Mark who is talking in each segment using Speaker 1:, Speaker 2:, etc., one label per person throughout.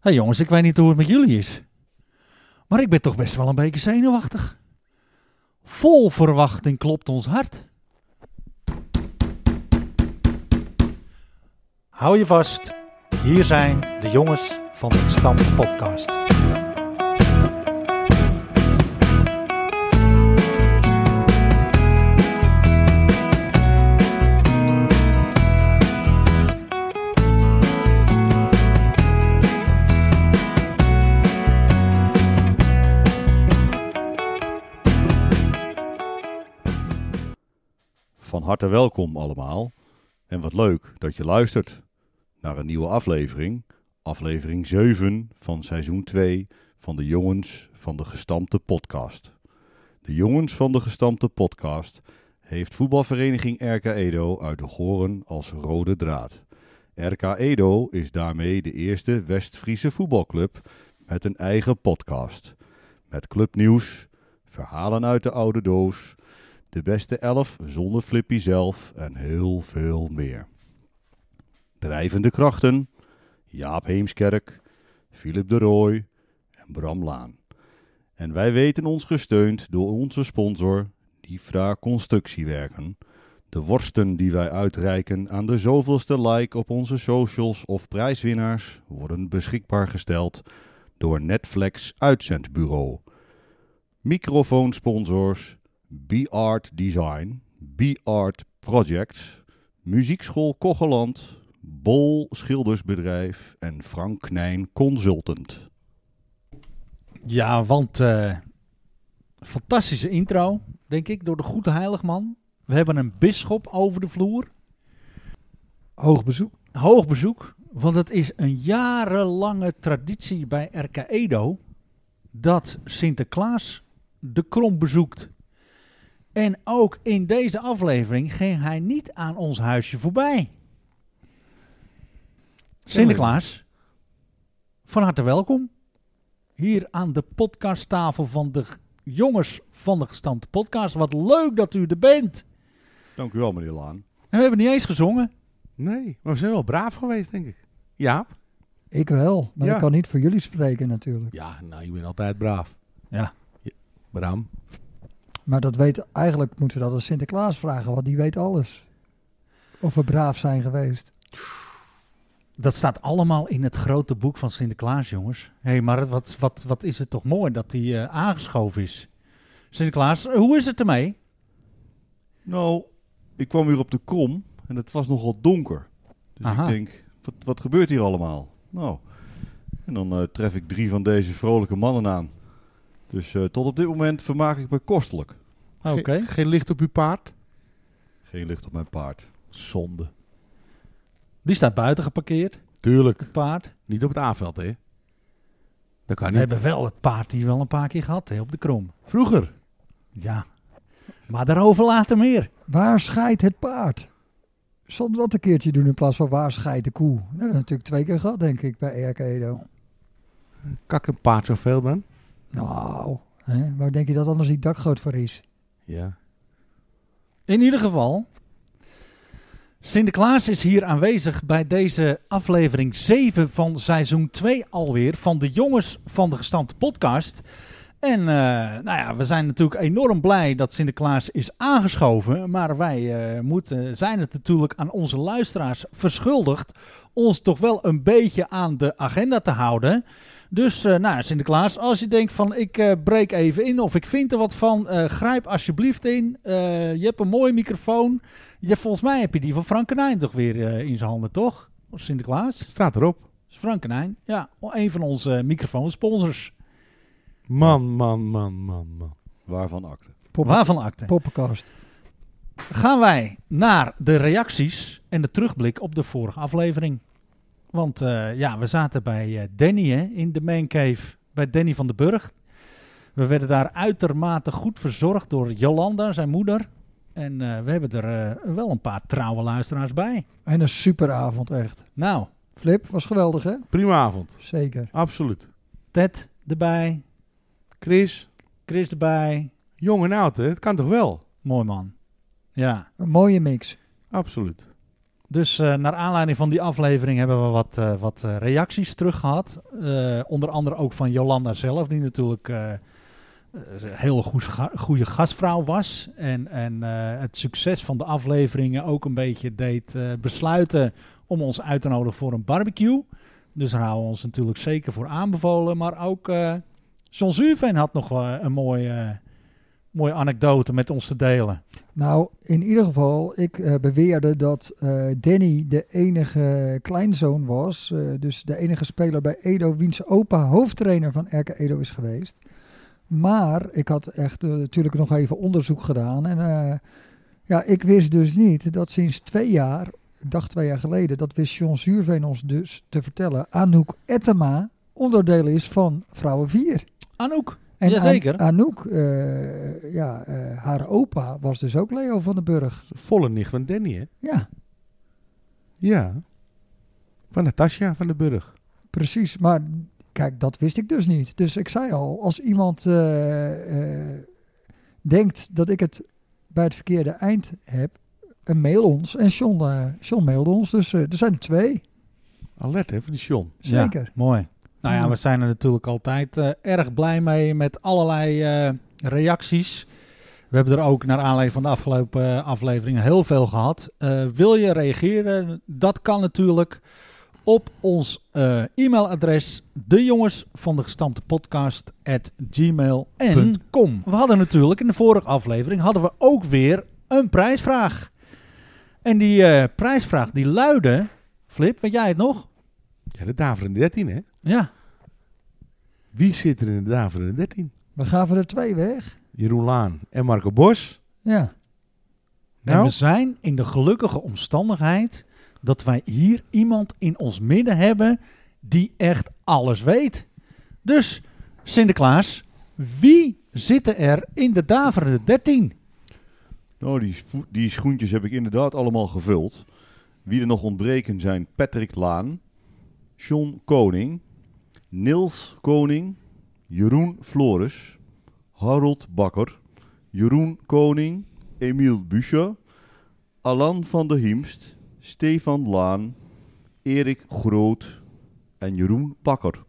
Speaker 1: hey jongens, ik weet niet hoe het met jullie is. Maar ik ben toch best wel een beetje zenuwachtig. Vol verwachting klopt ons hart.
Speaker 2: Hou je vast. Hier zijn de jongens van de Stam Podcast.
Speaker 3: Van harte welkom allemaal. En wat leuk dat je luistert naar een nieuwe aflevering. Aflevering 7 van seizoen 2 van de Jongens van de Gestampte Podcast. De Jongens van de Gestampte Podcast heeft voetbalvereniging RK Edo uit de Goren als rode draad. RK Edo is daarmee de eerste West-Friese voetbalclub met een eigen podcast. Met clubnieuws, verhalen uit de oude doos, de beste elf zonder Flippy zelf en heel veel meer. Drijvende krachten, Jaap Heemskerk, Philip de Rooij en Bram Laan. En wij weten ons gesteund door onze sponsor Difra Constructiewerken. De worsten die wij uitreiken aan de zoveelste like op onze socials of prijswinnaars worden beschikbaar gesteld door Netflix Uitzendbureau. Microfoonsponsors B-Art Design, B-Art Projects, Muziekschool Kocheland, Bol Schildersbedrijf en Frank Knijn Consultant.
Speaker 1: Ja, want eh, fantastische intro, denk ik, door de goede heiligman. We hebben een bisschop over de vloer.
Speaker 4: Hoog bezoek.
Speaker 1: Hoog bezoek, want het is een jarenlange traditie bij RK Edo dat Sinterklaas de krom bezoekt. En ook in deze aflevering ging hij niet aan ons huisje voorbij. Sinterklaas, van harte welkom hier aan de podcasttafel van de g- jongens van de gestampte podcast. Wat leuk dat u er bent.
Speaker 3: Dank u wel, meneer Laan.
Speaker 1: En we hebben niet eens gezongen.
Speaker 5: Nee, maar we zijn wel braaf geweest, denk ik. Jaap?
Speaker 4: Ik wel, maar
Speaker 5: Ja.
Speaker 4: ik kan niet voor jullie spreken natuurlijk.
Speaker 5: Ja, nou, je bent altijd braaf.
Speaker 1: Ja.
Speaker 5: Ja, Bram?
Speaker 4: Maar dat weet, eigenlijk moeten we dat aan Sinterklaas vragen, want die weet alles. Of we braaf zijn geweest.
Speaker 1: Dat staat allemaal in het grote boek van Sinterklaas, jongens. Hé, hey, maar het- wat, wat, wat is het toch mooi dat hij eh, aangeschoven is. Sinterklaas, eh, hoe is het ermee?
Speaker 3: Nou, ik kwam hier op de krom en het was nogal donker. Dus
Speaker 1: Aha.
Speaker 3: ik denk, wat, wat gebeurt hier allemaal? Nou, en dan eh, tref ik drie van deze vrolijke mannen aan. Dus eh, tot op dit moment vermaak ik me kostelijk.
Speaker 1: Oké.
Speaker 5: Ge- geen licht op uw paard?
Speaker 3: Geen licht op mijn paard.
Speaker 5: Zonde.
Speaker 1: Die staat buiten geparkeerd,
Speaker 5: Tuurlijk.
Speaker 1: het paard.
Speaker 5: Niet op het aanveld, hè? Dat kan
Speaker 1: We
Speaker 5: niet.
Speaker 1: hebben wel het paard hier wel een paar keer gehad, hè, op de krom.
Speaker 5: Vroeger.
Speaker 1: Ja. Maar daarover later meer.
Speaker 4: Waar scheidt het paard? Zal dat een keertje doen in plaats van waar scheidt de koe? Dat hebben we natuurlijk twee keer gehad, denk ik, bij RK Edo.
Speaker 5: Kak een paard zoveel dan?
Speaker 4: Nou, hè, waar denk je dat anders die dakgoot voor is?
Speaker 5: Ja.
Speaker 1: In ieder geval, Sinterklaas is hier aanwezig bij deze aflevering 7 van seizoen 2 alweer van de jongens van de gestampte podcast. En eh, nou ja, we zijn natuurlijk enorm blij dat Sinterklaas is aangeschoven. Maar wij eh, moeten, zijn het natuurlijk aan onze luisteraars verschuldigd ons toch wel een beetje aan de agenda te houden. Dus eh, nou, Sinterklaas, als je denkt van ik eh, breek even in of ik vind er wat van, eh, grijp alsjeblieft in. Eh, je hebt een mooie microfoon. Je, volgens mij heb je die van Frankenijn toch weer eh, in zijn handen, toch? Of Sinterklaas?
Speaker 5: Het staat erop.
Speaker 1: Is Frankenijn, ja, een van onze eh, microfoonsponsors.
Speaker 5: Man, man, man, man, man.
Speaker 3: Waarvan akte?
Speaker 4: Poppen,
Speaker 1: Waarvan acte?
Speaker 4: poppenkast.
Speaker 1: gaan wij naar de reacties en de terugblik op de vorige aflevering. Want eh, ja, we zaten bij eh, Danny hè, in de man cave, bij Danny van den Burg. We werden daar uitermate goed verzorgd door Jolanda, zijn moeder. En eh, we hebben er eh, wel een paar trouwe luisteraars bij.
Speaker 4: En een superavond, echt.
Speaker 1: Nou,
Speaker 4: Flip, was geweldig, hè?
Speaker 5: Prima avond.
Speaker 4: Zeker.
Speaker 5: Absoluut.
Speaker 1: Ted erbij,
Speaker 5: Chris,
Speaker 1: Chris erbij.
Speaker 5: jong en oud, hè? Het kan toch wel?
Speaker 1: Mooi man. Ja,
Speaker 4: Een mooie mix.
Speaker 5: Absoluut.
Speaker 1: Dus eh, naar aanleiding van die aflevering hebben we wat, eh, wat eh, reacties terug gehad. Eh, onder andere ook van Jolanda zelf, die natuurlijk eh, eh, een heel goes- ga- goede gastvrouw was. En, en eh, het succes van de afleveringen ook een beetje deed eh, besluiten om ons uit te nodigen voor een barbecue. Dus daar houden we ons natuurlijk zeker voor aanbevolen. Maar ook eh John Zuurveen had nog wel een mooie, eh, mooie anekdote met ons te delen.
Speaker 4: Nou, in ieder geval, ik eh, beweerde dat eh, Danny de enige kleinzoon was. eh, dus de enige speler bij Edo, wiens opa hoofdtrainer van Erke Edo is geweest. Maar ik had echt eh, natuurlijk nog even onderzoek gedaan. En eh, ja, ik wist dus niet dat sinds twee jaar, ik dacht twee jaar geleden, dat wist John Zuurveen ons dus te vertellen. Anouk Ettema onderdeel is van Vrouwen 4.
Speaker 1: Anouk.
Speaker 4: En
Speaker 1: Jazeker.
Speaker 4: An- Anouk, eh, ja, eh, haar opa was dus ook Leo van den Burg.
Speaker 5: Volle nicht van Danny, hè?
Speaker 4: Ja,
Speaker 5: Ja. Van Natasja van den Burg.
Speaker 4: precies. Maar kijk, dat wist ik dus niet. Dus ik zei al, als iemand eh, eh, denkt dat ik het bij het verkeerde eind heb, een mail ons. En John, eh, John mailde ons, dus eh, er zijn er twee,
Speaker 5: Alert, hè, van die John.
Speaker 4: zeker.
Speaker 1: Ja, mooi. Nou ja,
Speaker 4: Ja.
Speaker 1: we zijn er natuurlijk altijd eh, erg blij mee met allerlei eh, reacties. We hebben er ook naar aanleiding van de afgelopen eh, afleveringen heel veel gehad. Eh, wil je reageren? Dat kan natuurlijk op ons eh, e-mailadres de jongens van de gestampte podcast We hadden natuurlijk in de vorige aflevering hadden we ook weer een prijsvraag. En die eh, prijsvraag die luidde, Flip, weet jij het nog?
Speaker 5: Ja, de Daverende 13, hè?
Speaker 1: Ja.
Speaker 5: Wie zit er in de Daverende 13?
Speaker 4: We gaven er twee weg.
Speaker 5: Jeroen Laan en Marco Bos.
Speaker 4: Ja,
Speaker 1: En we
Speaker 5: Nou,
Speaker 1: zijn in de gelukkige omstandigheid dat wij hier iemand in ons midden hebben die echt alles weet. Dus Sinterklaas, wie zitten er in de daverende 13?
Speaker 3: Nou, die, scho- die schoentjes heb ik inderdaad allemaal gevuld. Wie er nog ontbreken zijn Patrick Laan, John Koning, Niels Koning, Jeroen Flores, Harold Bakker, Jeroen Koning, Emiel Buescher, Alan van der Hiemst, Stefan Laan, Erik Groot en Jeroen Bakker.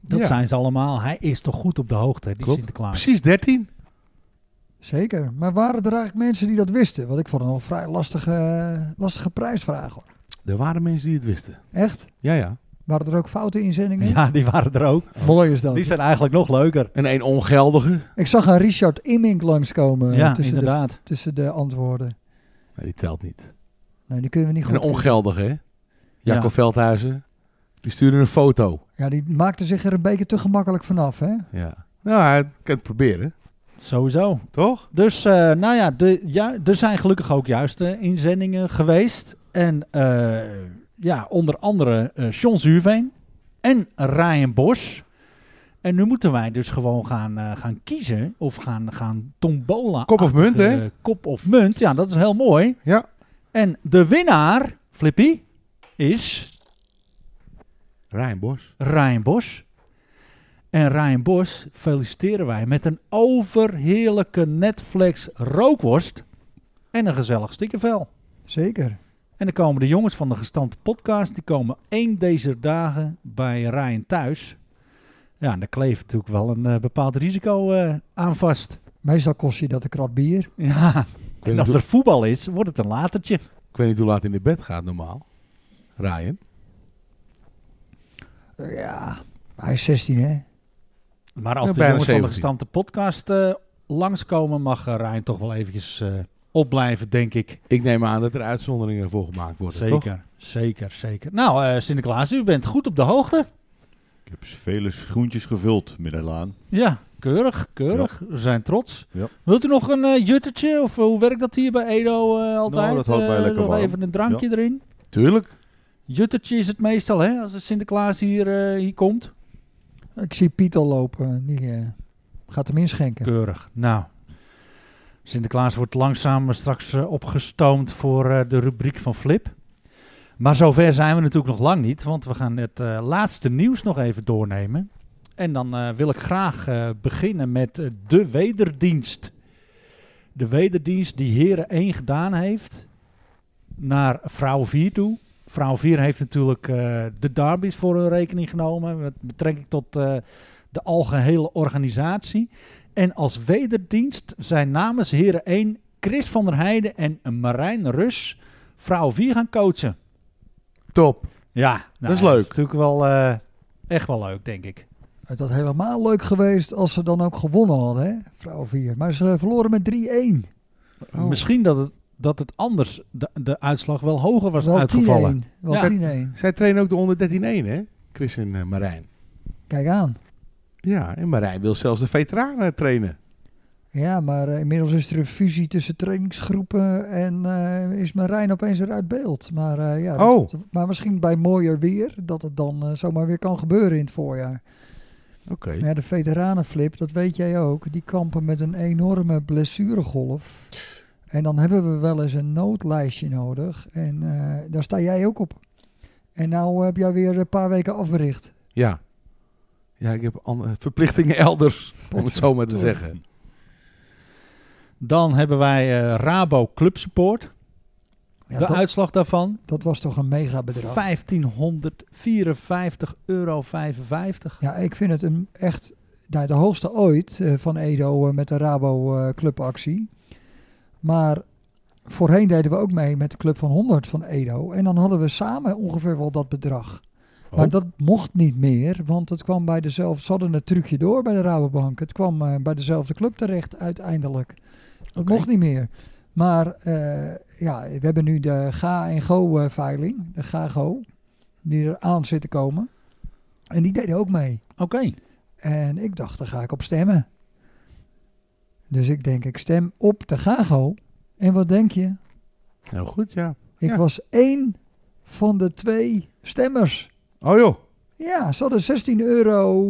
Speaker 1: Dat
Speaker 5: Ja.
Speaker 1: zijn ze allemaal. Hij is toch goed op de hoogte, die
Speaker 5: Klopt.
Speaker 1: Sinterklaas.
Speaker 5: precies 13.
Speaker 4: zeker. Maar waren er eigenlijk mensen die dat wisten? Want ik vond het een vrij lastige, lastige prijsvraag. Hoor.
Speaker 5: Er waren mensen die het wisten.
Speaker 4: Echt?
Speaker 5: Ja, ja.
Speaker 4: Waren er ook foute inzendingen?
Speaker 1: Ja, die waren er ook.
Speaker 4: Mooi is dat.
Speaker 1: Die zijn eigenlijk nog leuker.
Speaker 5: En één ongeldige.
Speaker 4: Ik zag een Richard Immink langskomen eh,
Speaker 1: Ja,
Speaker 4: tussen, de,
Speaker 1: inderdaad.
Speaker 4: tussen de antwoorden.
Speaker 5: Nee, die telt niet.
Speaker 4: Nee, die kunnen we niet
Speaker 5: En een
Speaker 4: goed.
Speaker 5: ongeldige, hè? Jacco
Speaker 1: Ja.
Speaker 5: Veldhuizen. Die stuurde een foto.
Speaker 4: Ja, die maakte zich er een beetje te gemakkelijk vanaf, hè?
Speaker 5: Ja. Nou, hij kan het proberen,
Speaker 1: Sowieso.
Speaker 5: toch?
Speaker 1: Dus eh, nou ja, de, ju- er zijn gelukkig ook juiste inzendingen geweest. En eh, ja, onder andere eh John Zuurveen en Ryan Bosch. En nu moeten wij dus gewoon gaan, eh, gaan kiezen of gaan, gaan tombola.
Speaker 5: Kop of munt, hè?
Speaker 1: Eh, kop of munt, ja, dat is heel mooi.
Speaker 5: Ja.
Speaker 1: En de winnaar, Flippy, is...
Speaker 5: Rijn Bos.
Speaker 1: Ryan Bos. En Ryan Bos feliciteren wij met een overheerlijke Netflix rookworst en een gezellig stikkervel.
Speaker 4: Zeker.
Speaker 1: En dan komen de jongens van de gestampte podcast, die komen één deze dagen bij Ryan thuis. Ja, en daar kleeft natuurlijk wel een eh, bepaald risico eh, aan vast.
Speaker 4: Meestal kost je dat een krat bier.
Speaker 1: Ja,
Speaker 5: Ik weet,
Speaker 1: en
Speaker 5: niet
Speaker 1: als
Speaker 5: hoe,
Speaker 1: er voetbal is, wordt het een latertje.
Speaker 5: ik weet niet hoe laat hij in de bed gaat normaal. Ryan.
Speaker 4: Ja, hij is 16, hè?
Speaker 1: Maar
Speaker 5: Ja,
Speaker 1: als de
Speaker 5: bijna
Speaker 1: jongens van de
Speaker 5: 17.
Speaker 1: gestampte podcast eh, langskomen, mag eh, Ryan toch wel eventjes eh, opblijven, denk ik.
Speaker 5: Ik neem aan dat er uitzonderingen voor gemaakt worden, toch?
Speaker 1: Zeker, zeker, zeker. Nou, eh, Sinterklaas, u bent goed op de hoogte.
Speaker 3: Ik heb vele schoentjes gevuld, meneer Laan.
Speaker 1: Ja, keurig, keurig. We zijn trots.
Speaker 3: Ja.
Speaker 1: Wilt u nog een eh, juttertje? Of eh, hoe werkt dat hier bij Edo eh, altijd?
Speaker 3: Nou, dat houdt mij
Speaker 1: Eh,
Speaker 3: lekker
Speaker 1: nog
Speaker 3: warm.
Speaker 1: Even een drankje erin.
Speaker 5: Tuurlijk.
Speaker 1: Juttertje is het meestal, hè? Als de Sinterklaas hier, eh, hier komt.
Speaker 4: Ik zie Piet al lopen. Die eh, gaat hem inschenken.
Speaker 1: Keurig. Nou, Sinterklaas wordt langzaam eh, straks eh, opgestoomd voor eh, de rubriek van Flip. Maar zover zijn we natuurlijk nog lang niet, want we gaan het eh, laatste nieuws nog even doornemen. En dan eh, wil ik graag eh, beginnen met eh, de wederdienst. De wederdienst die Heren 1 gedaan heeft. naar vrouw 4 toe. Vrouw 4 heeft natuurlijk eh, de derbies voor hun rekening genomen. Met betrekking tot eh, de algehele organisatie. En als wederdienst zijn namens Heren 1 Chris van der Heijden en Marijn Rus vrouw 4 gaan coachen.
Speaker 5: Top.
Speaker 1: Ja, nou,
Speaker 3: Dat is leuk.
Speaker 1: Dat is natuurlijk wel eh, echt wel leuk, denk ik.
Speaker 4: Het had helemaal leuk geweest als ze dan ook gewonnen hadden, hè? Vrouw 4. Maar ze verloren met 3-1.
Speaker 5: Oh.
Speaker 1: Misschien dat het, dat het anders, de, de uitslag wel hoger was
Speaker 4: Wel 10-1.
Speaker 1: uitgevallen.
Speaker 4: Wel
Speaker 5: Ja.
Speaker 4: 10-1.
Speaker 5: Zij trainen ook de onder 13-1, hè? Chris en eh, Marijn.
Speaker 4: Kijk aan.
Speaker 5: Ja, en Marijn wil zelfs de veteranen trainen.
Speaker 4: Ja, maar eh, inmiddels is er een fusie tussen trainingsgroepen en eh, is Marijn opeens weer uit beeld. Maar, eh, ja,
Speaker 5: Oh.
Speaker 4: dat- maar misschien bij mooier weer, dat het dan eh, zomaar weer kan gebeuren in het voorjaar.
Speaker 5: Oké.
Speaker 4: Maar ja, de veteranenflip, dat weet jij ook, die kampen met een enorme blessuregolf. En dan hebben we wel eens een noodlijstje nodig en eh, daar sta jij ook op. En nou heb jij weer een paar weken afbericht.
Speaker 5: Ja. Ja, ik heb an- eh, verplichtingen elders, om het zo maar te zeggen.
Speaker 1: Dan hebben wij eh, Rabo Club Support.
Speaker 4: Ja,
Speaker 1: de
Speaker 4: dat,
Speaker 1: uitslag daarvan
Speaker 4: dat was toch een mega bedrag.
Speaker 1: 1554,55 euro.
Speaker 4: Ja, ik vind het een echt nou, de hoogste ooit eh, van Edo eh, met de Rabo eh, clubactie. Maar voorheen deden we ook mee met de club van 100 van Edo. En dan hadden we samen ongeveer wel dat bedrag. Maar
Speaker 5: Oh.
Speaker 4: dat mocht niet meer, want het kwam bij dezelfde... Ze hadden het trucje door bij de Rabobank. Het kwam eh, bij dezelfde club terecht uiteindelijk. Dat
Speaker 1: Oké.
Speaker 4: mocht niet meer. Maar eh, ja, we hebben nu de Ga en Go eh, veiling. De Ga Go. Die er aan zit te komen. En die deden ook mee.
Speaker 1: Oké.
Speaker 4: En ik dacht, daar ga ik op stemmen. Dus ik denk, ik stem op de Gago. En wat denk je?
Speaker 5: Heel Nou goed, ja.
Speaker 4: Ik
Speaker 5: Ja.
Speaker 4: was één van de twee stemmers.
Speaker 5: Oh joh.
Speaker 4: Ja, ze hadden 16,37 euro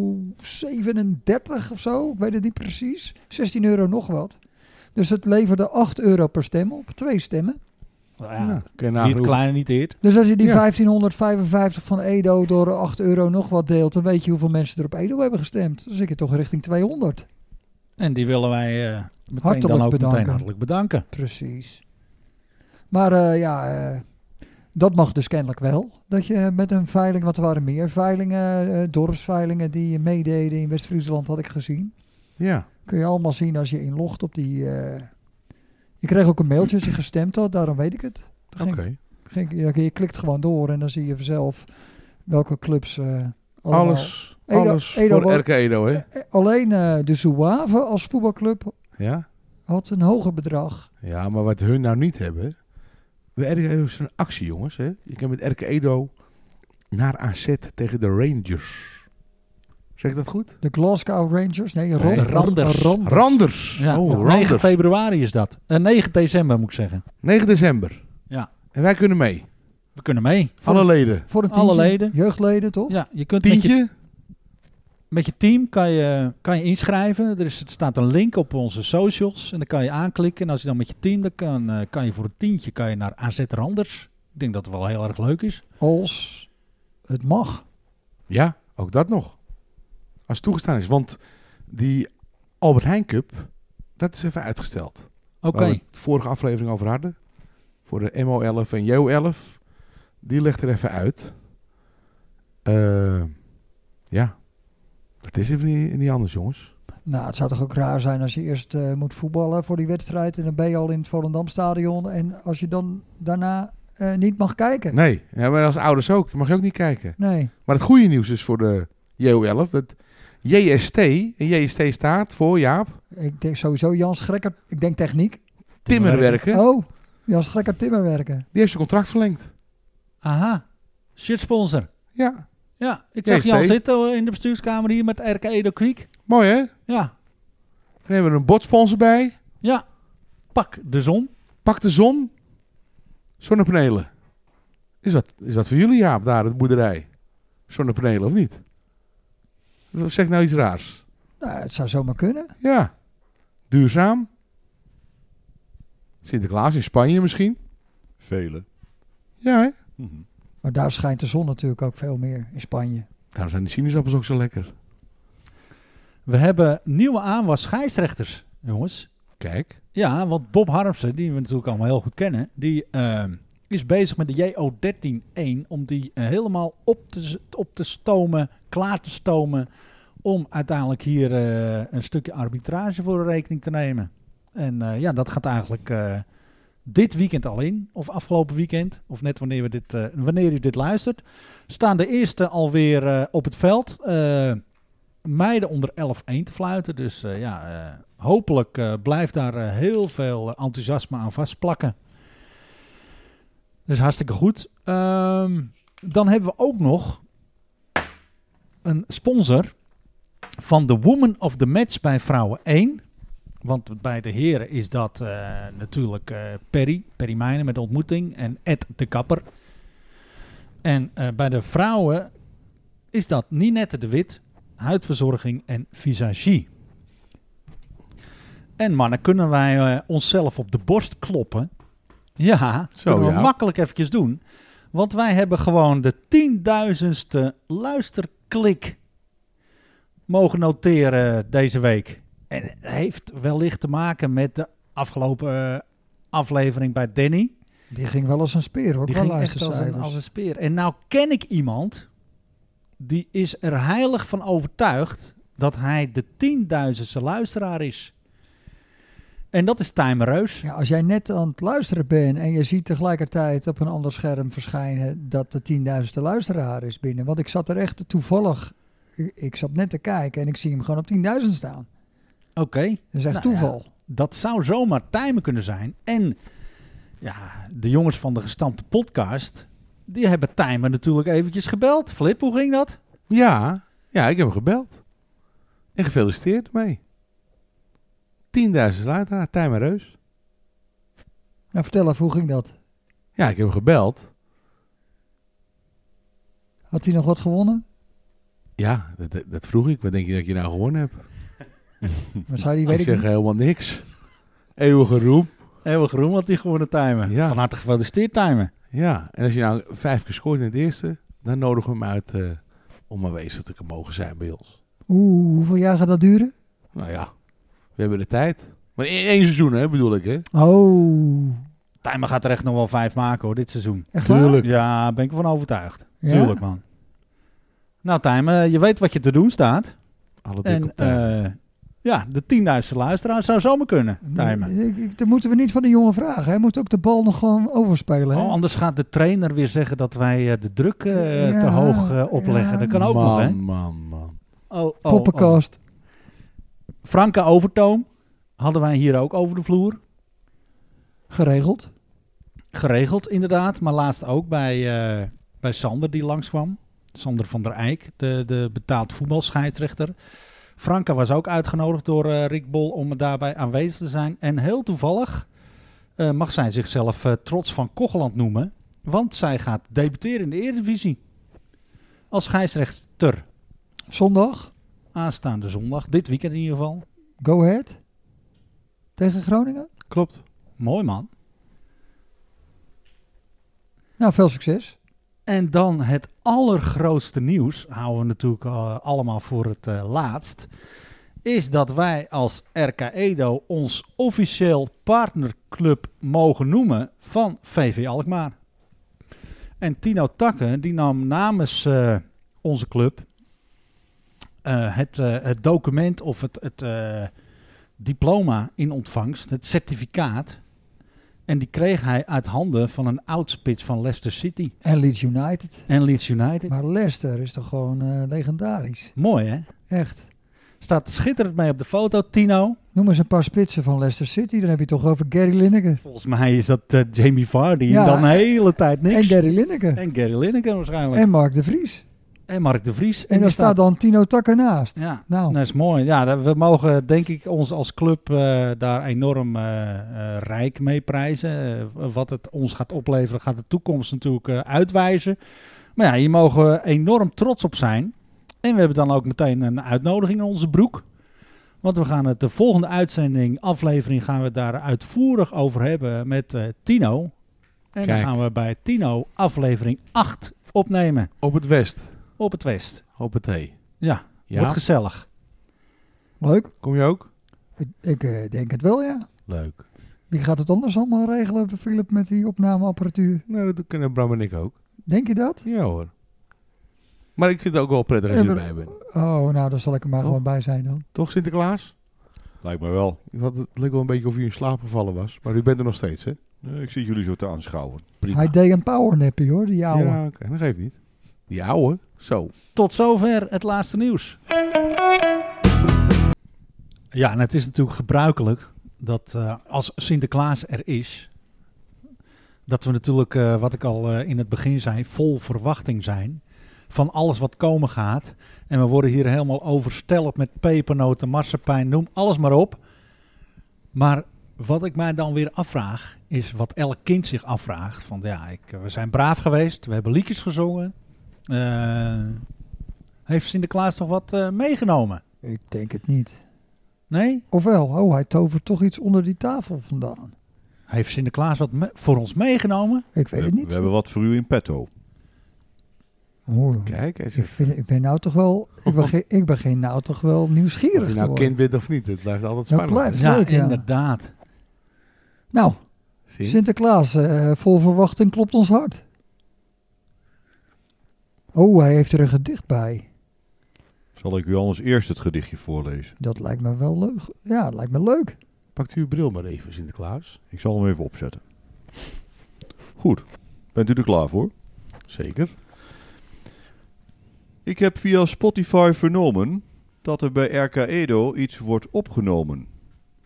Speaker 4: of zo. Ik weet het niet precies. 16 euro nog wat. Dus het leverde 8 euro per stem op. Twee stemmen.
Speaker 1: Nou
Speaker 5: Ja,
Speaker 1: ja,
Speaker 5: kun je
Speaker 1: Niet
Speaker 5: nagaan hoe-
Speaker 1: kleiner, niet eert.
Speaker 4: Dus als je die
Speaker 5: Ja.
Speaker 4: 1555 van Edo door de 8 euro nog wat deelt... dan weet je hoeveel mensen er op Edo hebben gestemd. Dus ik het toch richting 200.
Speaker 1: En die willen wij eh, meteen
Speaker 4: Hartelijk
Speaker 1: dan ook meteen
Speaker 4: bedanken.
Speaker 1: hartelijk bedanken.
Speaker 4: Precies. Maar eh, ja, eh, dat mag dus kennelijk wel. Dat je met een veiling, want er waren meer veilingen, eh, dorpsveilingen die meededen in West-Friesland, had ik gezien.
Speaker 5: Ja.
Speaker 4: Kun je allemaal zien als je inlogt op die. eh, je kreeg ook een mailtje als je gestemd had, daarom weet ik het. Toen
Speaker 5: Oké.
Speaker 4: ging- ging ik- ja, je klikt gewoon door en dan zie je vanzelf welke clubs. eh, allemaal-
Speaker 5: Alles,
Speaker 4: Edo-
Speaker 5: alles
Speaker 4: Edo
Speaker 5: voor
Speaker 4: wordt-
Speaker 5: RK Edo, hè?
Speaker 4: Eh, Alleen eh, de Zouave als voetbalclub
Speaker 5: Ja.
Speaker 4: had een hoger bedrag.
Speaker 5: Ja, maar wat hun nou niet hebben. Bij RK Edo is er een actie, jongens. Hè? Je kan met RK Edo naar AZ tegen de Rangers. Zeg ik dat goed?
Speaker 4: De Glasgow Rangers, nee,
Speaker 1: Nee,
Speaker 4: Ron-
Speaker 1: Randers.
Speaker 4: Randers.
Speaker 5: Randers.
Speaker 1: Ja,
Speaker 5: oh,
Speaker 1: ja,
Speaker 5: Randers.
Speaker 1: 9 februari is dat. Eh, 9 december moet ik zeggen.
Speaker 5: 9 december.
Speaker 1: Ja.
Speaker 5: En wij kunnen mee.
Speaker 1: We kunnen mee.
Speaker 5: Alle leden.
Speaker 4: Voor een
Speaker 1: Alle
Speaker 4: tientje.
Speaker 1: leden.
Speaker 4: Jeugdleden, toch?
Speaker 1: Ja, je kunt met je,
Speaker 5: Tientje.
Speaker 1: met je team kan je, kan je inschrijven. Er, is, er staat een link op onze socials en dan kan je aanklikken. En als je dan met je team, dan kan, eh, kan je voor een tientje kan je naar AZ Randers. Ik denk dat het wel heel erg leuk is.
Speaker 4: Als het mag.
Speaker 5: Ja, ook dat nog. Als het toegestaan is. Want die Albert Heijn Cup, dat is even uitgesteld.
Speaker 1: Oké.
Speaker 5: Waar we het vorige aflevering over hadden. Voor de MO11 en JO11. Die legt er even uit. Eh, ja. Dat is even niet, niet anders, jongens.
Speaker 4: Nou, het zou toch ook raar zijn als je eerst eh, moet voetballen voor die wedstrijd. En dan ben je al in het Volendamstadion. En als je dan daarna eh, niet mag kijken.
Speaker 5: Nee, ja, maar als ouders ook. Je mag je ook niet kijken.
Speaker 4: Nee.
Speaker 5: Maar het goede nieuws is voor de JO11 dat JST, en JST staat voor, Jaap,
Speaker 4: Ik denk sowieso Jans Grekker. Ik denk techniek.
Speaker 5: Timmerwerken.
Speaker 4: Oh, Jans Grekker timmerwerken.
Speaker 5: Die heeft zijn contract verlengd.
Speaker 1: Aha. Shit sponsor.
Speaker 5: Ja,
Speaker 1: Ja, ik zag
Speaker 5: JST.
Speaker 1: Jan zitten hoor, in de bestuurskamer hier met RK Edo Creek.
Speaker 5: mooi hè?
Speaker 1: Ja,
Speaker 5: Dan hebben we een botsponsor bij.
Speaker 1: ja. Pak de zon.
Speaker 5: Pak de zon. Zonnepanelen. Is dat, is dat voor jullie, Jaap, daar, het boerderij? Zonnepanelen, of niet? Of Zeg nou iets raars.
Speaker 4: Nou, het zou zomaar kunnen.
Speaker 5: Ja. Duurzaam. Sinterklaas in Spanje misschien.
Speaker 3: Vele.
Speaker 5: Ja, hè?
Speaker 3: Mhm.
Speaker 4: Maar daar schijnt de zon natuurlijk ook veel meer in Spanje.
Speaker 5: Daarom zijn die sinaasappels ook zo lekker.
Speaker 1: We hebben nieuwe aanwas scheidsrechters, jongens.
Speaker 5: Kijk.
Speaker 1: Ja, want Bob Harmsen, die we natuurlijk allemaal heel goed kennen, die ehm, is bezig met de JO13-1 om die eh, helemaal op te, z- op te stomen, klaar te stomen, om uiteindelijk hier eh, een stukje arbitrage voor rekening te nemen. En eh, ja, dat gaat eigenlijk eh, dit weekend al in, of afgelopen weekend, of net wanneer, we dit, eh, wanneer u dit luistert, staan de eerste alweer eh, op het veld. eh, meiden onder 11-1 te fluiten. Dus eh, ja, eh, hopelijk eh, blijft daar eh, heel veel eh, enthousiasme aan vastplakken. Dus hartstikke goed. Ehm, dan hebben we ook nog een sponsor van de Woman of the Match bij Vrouwen 1. Want bij de heren is dat eh, natuurlijk eh, Perry, Perry Mijnen met de ontmoeting en Ed de Kapper. En eh, bij de vrouwen is dat Ninette de Wit, huidverzorging en visagie. En mannen, kunnen wij eh, onszelf op de borst kloppen? Ja,
Speaker 5: Zo,
Speaker 1: kunnen we
Speaker 5: ja.
Speaker 1: makkelijk eventjes doen. Want wij hebben gewoon de tienduizendste luisterklik mogen noteren deze week. En het heeft wellicht te maken met de afgelopen eh, aflevering bij Danny.
Speaker 4: Die ging wel als een speer hoor,
Speaker 1: Die
Speaker 4: qua
Speaker 1: ging echt als een,
Speaker 4: luistercijfers.
Speaker 1: als een speer. En nou ken ik iemand die is er heilig van overtuigd dat hij de tienduizendste luisteraar is. En dat is Timer Reus.
Speaker 4: Ja, als jij net aan het luisteren bent en je ziet tegelijkertijd op een ander scherm verschijnen dat de 10.000ste luisteraar is binnen. Want ik zat er echt toevallig, ik- ik zat net te kijken en ik zie hem gewoon op 10.000 staan.
Speaker 1: Oké.
Speaker 4: Dat is
Speaker 1: Nou
Speaker 4: echt
Speaker 1: ja.
Speaker 4: toeval.
Speaker 1: Dat zou zomaar timer kunnen zijn. En ja, de jongens van de gestampte podcast, die hebben timer natuurlijk eventjes gebeld. Flip, hoe ging dat?
Speaker 5: Ja, ja, ik heb hem gebeld. En gefeliciteerd mee. 10.000 later, Tijmen Reus.
Speaker 4: Nou, vertel even, hoe ging dat?
Speaker 5: Ja, ik heb hem gebeld.
Speaker 4: Had hij nog wat gewonnen?
Speaker 5: Ja, dat, dat- dat vroeg ik. Wat denk je dat je nou gewonnen hebt?
Speaker 4: Maar zei hij,
Speaker 5: Hm. Ik
Speaker 4: weet ik
Speaker 5: zeg eh,
Speaker 4: niet.
Speaker 5: helemaal niks. Eeuwige roem.
Speaker 1: Heel groen had die gewonnen timer.
Speaker 5: Ja.
Speaker 1: Van harte gefeliciteerd timer.
Speaker 5: Ja, en als je nou vijf keer scoort in het eerste, dan nodigen we hem uit eh, om aanwezig te mogen zijn bij ons.
Speaker 4: Oeh, hoeveel jaar gaat dat duren?
Speaker 5: Nou ja, we hebben de tijd. Maar in één seizoen, hè, bedoel ik, hè?
Speaker 4: Oh,
Speaker 1: Timer gaat er echt nog wel vijf maken hoor, dit seizoen.
Speaker 4: echt waar?
Speaker 1: Ja, ben ik ervan overtuigd.
Speaker 4: Ja?
Speaker 1: Tuurlijk man. Nou Timer, je weet wat je te doen staat.
Speaker 5: Alle dik
Speaker 1: En
Speaker 5: op tijd.
Speaker 1: eh, ja, de tienduizendste luisteraar zou zomaar kunnen,
Speaker 4: Mm,
Speaker 1: Timer.
Speaker 4: Ik- ik- Dat moeten we niet van de jongen vragen. Hij moet ook de bal nog gewoon overspelen. hè?
Speaker 1: Oh, anders gaat de trainer weer zeggen dat wij eh, de druk eh,
Speaker 4: Ja,
Speaker 1: te hoog eh, opleggen.
Speaker 4: ja.
Speaker 1: Dat kan ook
Speaker 5: man,
Speaker 1: nog, hè?
Speaker 5: man, man.
Speaker 1: Oh, oh, oh.
Speaker 4: Poppenkast.
Speaker 1: Franke Overtoom hadden wij hier ook over de vloer.
Speaker 4: Geregeld.
Speaker 1: Geregeld, inderdaad. Maar laatst ook bij, eh, bij Sander die langskwam. Sander van der Eijk, de, de betaald voetbalscheidsrechter. Franka was ook uitgenodigd door eh, Rick Bol om daarbij aanwezig te zijn. En heel toevallig eh, mag zij zichzelf eh, trots van Kocheland noemen. Want zij gaat debuteren in de Eredivisie. Als scheidsrechter
Speaker 4: Zondag.
Speaker 1: aanstaande zondag. Dit weekend in ieder geval.
Speaker 4: Go ahead. Tegen Groningen.
Speaker 5: Klopt.
Speaker 1: Mooi man.
Speaker 4: Nou, veel succes.
Speaker 1: En dan het allergrootste nieuws, houden we natuurlijk eh, allemaal voor het eh, laatst, is dat wij als RK Edo ons officieel partnerclub mogen noemen van VV Alkmaar. En Tino Takken, die nam namens eh, onze club eh, het, eh, het document of het, het eh, diploma in ontvangst, het certificaat. En die kreeg hij uit handen van een oudspits van Leicester City.
Speaker 4: En Leeds United.
Speaker 1: En Leeds United.
Speaker 4: Maar Leicester is toch gewoon eh, legendarisch.
Speaker 1: Mooi hè?
Speaker 4: Echt.
Speaker 1: Staat schitterend mee op de foto, Tino.
Speaker 4: Noem eens een paar spitsen van Leicester City. Dan heb je het toch over Gary Lineker.
Speaker 1: Volgens mij is dat eh, Jamie Vardy.
Speaker 4: Ja.
Speaker 1: en Dan de hele tijd niks.
Speaker 4: En Gary Lineker.
Speaker 1: En Gary Lineker waarschijnlijk. En,
Speaker 4: En Mark de Vries.
Speaker 1: Mark de Vries.
Speaker 4: En
Speaker 1: die
Speaker 4: daar staat dan Tino Takker naast.
Speaker 1: Ja,
Speaker 4: Nou,
Speaker 1: dat is mooi. Ja, dat- we mogen denk ik ons als club eh, daar enorm eh, eh, rijk mee prijzen. Eh, wat het ons gaat opleveren gaat de toekomst natuurlijk eh, uitwijzen. Maar ja, hier mogen we enorm trots op zijn. En we hebben dan ook meteen een uitnodiging in onze broek. Want we gaan het de volgende uitzending, aflevering, gaan we het daar uitvoerig over hebben met eh, Tino. En
Speaker 5: Kijk.
Speaker 1: dan gaan we bij Tino aflevering 8 opnemen
Speaker 5: Op het west.
Speaker 1: op het West.
Speaker 5: Op het thee.
Speaker 1: Ja, wordt
Speaker 5: Ja,
Speaker 1: gezellig.
Speaker 4: leuk.
Speaker 5: kom je ook?
Speaker 4: Ik, ik, eh, denk het wel, ja.
Speaker 5: Leuk.
Speaker 4: Wie gaat het anders allemaal regelen, Philip, met die opnameapparatuur?
Speaker 5: Nou, dat kunnen Bram en ik ook.
Speaker 4: Denk je dat?
Speaker 5: Ja hoor. Maar ik vind het ook wel prettig als
Speaker 4: Ja,
Speaker 5: je
Speaker 4: maar-
Speaker 5: erbij bent.
Speaker 4: Oh, nou, dan zal ik er maar
Speaker 5: Oh.
Speaker 4: gewoon bij zijn dan.
Speaker 5: Toch Sinterklaas?
Speaker 3: Lijkt me wel.
Speaker 5: Ik had- Het leek wel een beetje of u in slaap gevallen was. Maar u bent er nog steeds, hè?
Speaker 3: Nee, Eh, Ik zie jullie zo te aanschouwen. Prima.
Speaker 4: Hij deed een powernappie hoor, die ouwe.
Speaker 5: Ja, oké. Dat geeft niet. Die ouwe? Zo.
Speaker 1: Tot zover het laatste nieuws. Ja, en het is natuurlijk gebruikelijk dat eh, als Sinterklaas er is, dat we natuurlijk, eh, wat ik al eh, in het begin zei, vol verwachting zijn van alles wat komen gaat. En we worden hier helemaal overstelpt met pepernoten, marsepein, noem alles maar op. Maar wat ik mij dan weer afvraag, is wat elk kind zich afvraagt. Van ja, ik, eh, we zijn braaf geweest, we hebben liedjes gezongen. Eh, heeft Sinterklaas toch wat eh, meegenomen?
Speaker 4: Ik denk het niet.
Speaker 1: Nee?
Speaker 4: Ofwel, oh, hij tovert toch iets onder die tafel vandaan.
Speaker 1: Heeft Sinterklaas wat me- voor ons meegenomen?
Speaker 4: Ik weet
Speaker 3: we,
Speaker 4: het niet.
Speaker 3: we hebben wat voor u in petto.
Speaker 4: Hoor,
Speaker 5: Kijk, hij
Speaker 4: ik,
Speaker 5: zegt,
Speaker 4: vind, ik ben nou toch wel, ik begin, ik begin nou toch wel nieuwsgierig
Speaker 5: of je
Speaker 4: te
Speaker 5: nou
Speaker 4: worden.
Speaker 5: kind bent of niet, het blijft altijd
Speaker 4: Dat
Speaker 5: spannend.
Speaker 4: blijft. leuk, ja.
Speaker 1: inderdaad.
Speaker 4: Nou,
Speaker 5: Zie je?
Speaker 4: Sinterklaas, eh, vol verwachting klopt ons hart. Oh, hij heeft er een gedicht bij.
Speaker 3: Zal ik u anders eerst het gedichtje voorlezen?
Speaker 4: Dat lijkt me wel leuk. Ja, lijkt me leuk.
Speaker 5: Pakt u uw bril maar even, Sinterklaas.
Speaker 3: Ik zal hem even opzetten. Goed, bent u er klaar voor?
Speaker 5: Zeker.
Speaker 3: Ik heb via Spotify vernomen dat er bij RK Edo iets wordt opgenomen.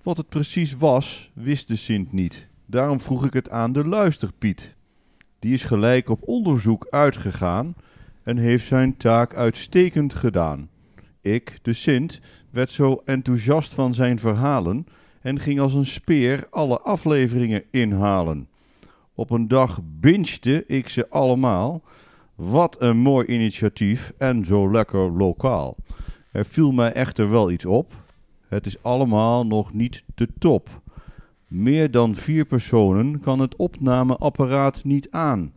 Speaker 3: Wat het precies was, wist de Sint niet. Daarom vroeg ik het aan de luisterpiet. Die is gelijk op onderzoek uitgegaan en heeft zijn taak uitstekend gedaan. Ik, de Sint, werd zo enthousiast van zijn verhalen en ging als een speer alle afleveringen inhalen. Op een dag bingete ik ze allemaal wat een mooi initiatief en zo lekker lokaal. Er viel mij echter wel iets op. Het is allemaal nog niet de top. Meer dan vier personen kan het opnameapparaat niet aan.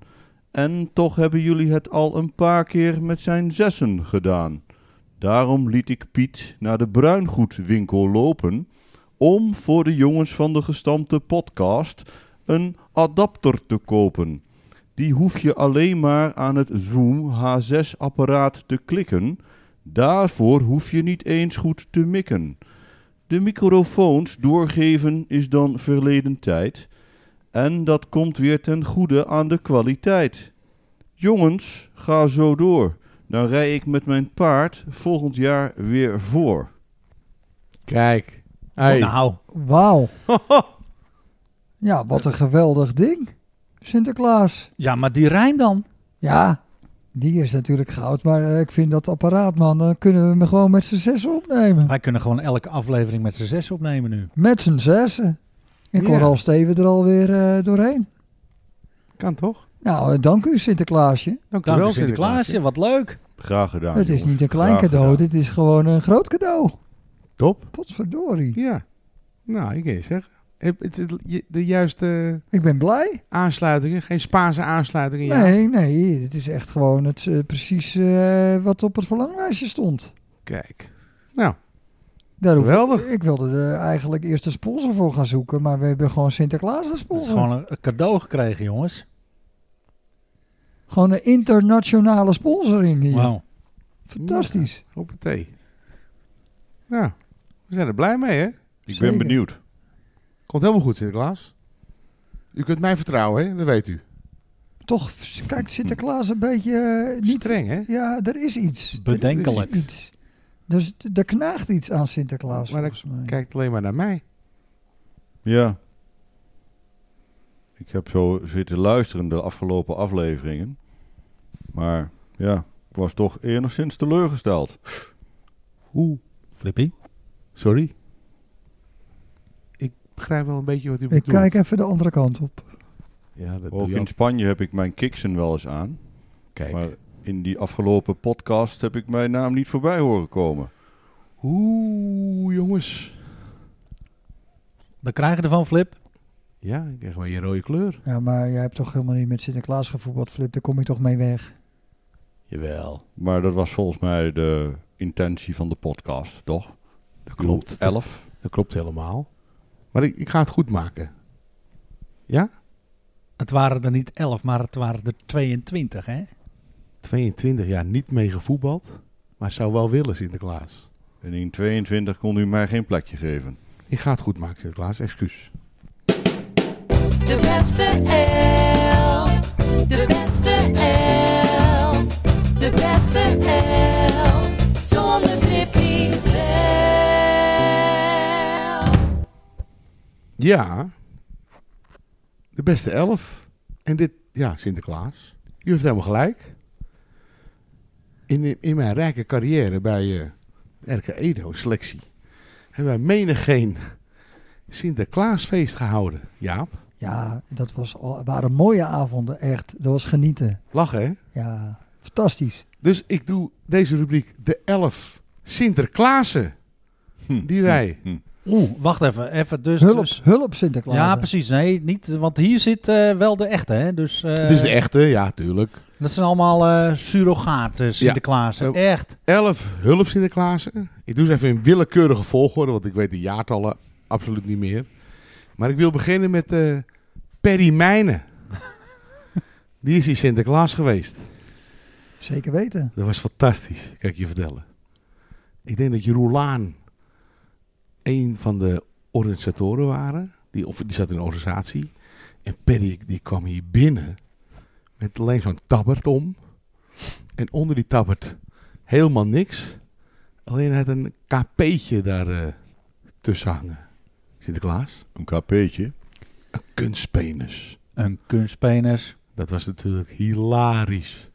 Speaker 3: En toch hebben jullie het al een paar keer met zijn zessen gedaan. Daarom liet ik Piet naar de bruingoedwinkel lopen om voor de jongens van de gestampte podcast een adapter te kopen die hoef je alleen maar aan het Zoom H6-apparaat te klikken. Daarvoor hoef je niet eens goed te mikken. De microfoons doorgeven is dan verleden tijd. En dat komt weer ten goede aan de kwaliteit. Jongens, ga zo door. Dan rij ik met mijn paard volgend jaar weer voor.
Speaker 5: Kijk. Hey.
Speaker 1: Nou,
Speaker 4: Wauw. Ja, wat een geweldig ding. Sinterklaas.
Speaker 1: ja, maar die rijm dan?
Speaker 4: Ja, die is natuurlijk goud, maar eh, ik vind dat apparaat, man, dan kunnen we hem gewoon met z'n zessen opnemen.
Speaker 1: Wij kunnen gewoon elke aflevering met z'n zes opnemen nu.
Speaker 4: Met z'n zessen. Ik hoor
Speaker 5: Ja.
Speaker 4: al Steven er alweer eh, doorheen.
Speaker 5: Kan toch?
Speaker 4: Nou, eh, dank u Sinterklaasje.
Speaker 5: Dank u
Speaker 1: Dank
Speaker 5: wel,
Speaker 1: u Sinterklaasje,
Speaker 5: Sinterklaasje.
Speaker 1: wat leuk.
Speaker 3: Graag gedaan.
Speaker 4: het is
Speaker 3: jongens.
Speaker 4: niet een klein
Speaker 3: Graag
Speaker 4: cadeau,
Speaker 3: gedaan.
Speaker 4: dit is gewoon een groot cadeau.
Speaker 5: Top.
Speaker 4: Potverdorie.
Speaker 5: Ja. Nou, ik kan je zeggen. Heb- het- het- je- De juiste
Speaker 4: Ik ben blij.
Speaker 5: aansluitingen. Geen Spaanse aansluitingen. ja.
Speaker 4: Nee, nee, het is echt gewoon het, eh, precies eh, wat op het verlanglijstje stond.
Speaker 5: Kijk. Nou,
Speaker 4: Daar hoef-
Speaker 5: Geweldig.
Speaker 4: Ik wilde er eh, eigenlijk eerst een sponsor voor gaan zoeken, maar we hebben gewoon Sinterklaas als
Speaker 1: Het is
Speaker 4: sponsor. Gewoon...
Speaker 1: gewoon een cadeau gekregen, jongens.
Speaker 4: een internationale sponsoring hier.
Speaker 1: Wauw.
Speaker 4: Fantastisch.
Speaker 5: hoppatee. Nou, we zijn er blij mee, hè?
Speaker 3: Ik ben
Speaker 4: Zeker.
Speaker 3: benieuwd.
Speaker 5: Komt helemaal goed, Sinterklaas. U kunt mij vertrouwen, hè? Dat weet u.
Speaker 4: Toch f- kijkt Sinterklaas een beetje eh, niet...
Speaker 5: Streng, hè?
Speaker 4: Ja, er is iets.
Speaker 1: Bedenkelijk.
Speaker 4: Er is iets. Dus d- er knaagt iets aan Sinterklaas.
Speaker 5: Maar dat-
Speaker 4: volgens mij.
Speaker 5: Kijkt alleen maar naar mij.
Speaker 3: Ja. Ik heb zo zitten luisteren de afgelopen afleveringen. Maar ja, ik was toch enigszins teleurgesteld.
Speaker 5: Hoe?
Speaker 1: Flippy?
Speaker 5: Sorry. Ik begrijp wel een beetje wat u
Speaker 4: Ik
Speaker 5: bedoelt.
Speaker 4: kijk even de andere kant op.
Speaker 5: Ja, dat doe
Speaker 3: Ook
Speaker 5: je
Speaker 3: in
Speaker 5: ook.
Speaker 3: Spanje heb ik mijn kiksen wel eens aan.
Speaker 5: Kijk.
Speaker 3: Maar in die afgelopen podcast heb ik mijn naam niet voorbij horen komen.
Speaker 5: Oeh, jongens.
Speaker 1: Dan krijgen we ervan, Flip.
Speaker 5: Ja, ik krijg wel je rode kleur.
Speaker 4: Ja, maar jij hebt toch helemaal niet met Sinterklaas gevoetbald, Flip. Daar kom je toch mee weg.
Speaker 5: Jawel.
Speaker 3: Maar dat was volgens mij de intentie van de podcast, toch?
Speaker 5: Dat klopt. Dat,
Speaker 3: Elf.
Speaker 5: dat klopt helemaal. Maar ik, ik ga het goed maken. Ja?
Speaker 1: Het waren er niet 11, maar het waren er 22, hè?
Speaker 5: 22 jaar niet mee gevoetbald, maar zou wel willen Sinterklaas.
Speaker 3: En in 22 kon u mij geen plekje geven.
Speaker 5: Ik ga het goed maken Sinterklaas, excuus.
Speaker 6: De beste elf. De beste elf. De beste elf. Zonder Tippy zelf.
Speaker 5: Ja, de beste elf. En dit, ja, Sinterklaas. U heeft helemaal gelijk. In, in mijn rijke carrière bij eh RK Edo selectie hebben wij menigeen Sinterklaasfeest gehouden. Jaap,
Speaker 4: Ja, dat was al, waren mooie avonden, echt. Dat was genieten.
Speaker 5: lachen hè?
Speaker 4: Ja, fantastisch.
Speaker 5: Dus ik doe deze rubriek de 11 Sinterklaassen
Speaker 3: Hm.
Speaker 5: die wij.
Speaker 1: Oeh, wacht even. even dus,
Speaker 4: Hulp,
Speaker 1: dus-
Speaker 4: hulp Sinterklaas.
Speaker 1: ja, precies. Nee, niet. Want hier zit eh, wel de echte, hè? Dus, eh,
Speaker 5: Dit is de echte, ja, tuurlijk.
Speaker 1: Dat zijn allemaal eh surrogaten, Sinterklaas.
Speaker 5: Ja. Oh.
Speaker 1: Echt.
Speaker 5: 11 hulp Sinterklaassen. Ik doe ze even in willekeurige volgorde, want ik weet de jaartallen absoluut niet meer. Maar ik wil beginnen met eh Perry Mijnen. Die is hier Sinterklaas geweest.
Speaker 4: Zeker weten.
Speaker 5: Dat was fantastisch, kan ik je vertellen. Ik denk dat Jeroen Laan een van de organisatoren waren. Die, of die zat in een organisatie. En Perry die kwam hier binnen met alleen zo'n tabbert om. En onder die tabbert helemaal niks. Alleen had een kp'tje daar eh, tussen hangen. Sinterklaas.
Speaker 3: Een kp'tje.
Speaker 5: Een kunstpenis.
Speaker 1: Een kunstpenis.
Speaker 5: Dat was natuurlijk hilarisch.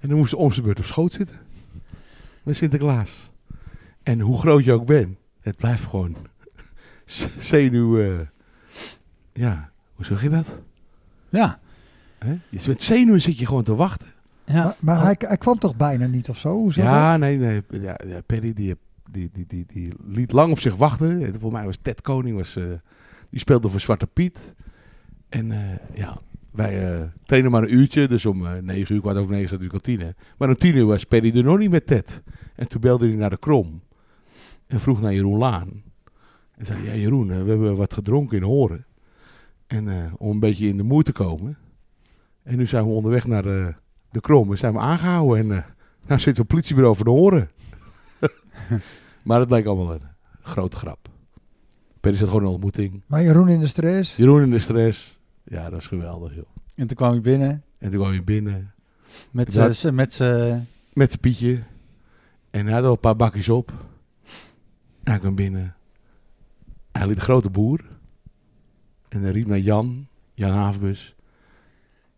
Speaker 5: En dan moest ze om zijn beurt op schoot zitten. Met Sinterklaas. En hoe groot je ook bent, het blijft gewoon z- zenuw... eh, ja, hoe zeg je dat?
Speaker 1: Ja.
Speaker 5: Hè? Dus met zenuwen zit je gewoon te wachten.
Speaker 1: ja.
Speaker 4: Maar, maar hij, hij kwam toch bijna niet of zo? Hoezo
Speaker 5: ja,
Speaker 4: Oh, dat?
Speaker 5: nee, nee. Ja, ja, Perry die, die, die, die, die liet lang op zich wachten. En Voor mij was Ted Koning, was, eh, die speelde voor Zwarte Piet. En eh, ja, wij eh, trainen maar een uurtje. Dus om eh, negen uur, kwart over negen, zat de kantine. Maar om tien uur was Perry er nog niet met Ted. En toen belde hij naar de Krom. En vroeg naar Jeroen Laan. En zei, hij, ja Jeroen, eh, we hebben wat gedronken in Horen. En eh, om een beetje in de moed te komen. En nu zijn we onderweg naar eh, de Krom. We zijn we aangehouden en... eh, nou zit het politiebureau voor de horen. maar het lijkt allemaal een grote grap. Perry zat gewoon een ontmoeting.
Speaker 4: Maar Jeroen in de stress.
Speaker 5: Jeroen in de stress. Ja, dat is geweldig, joh.
Speaker 1: En toen kwam hij binnen
Speaker 5: En toen kwam je binnen
Speaker 1: met
Speaker 5: Ja.
Speaker 1: zijn... met z'n-
Speaker 5: met zijn pietje. En hij had al een paar bakjes op. Hij kwam binnen. Hij liet een grote boer. En hij riep naar Jan, Jan Havenbus.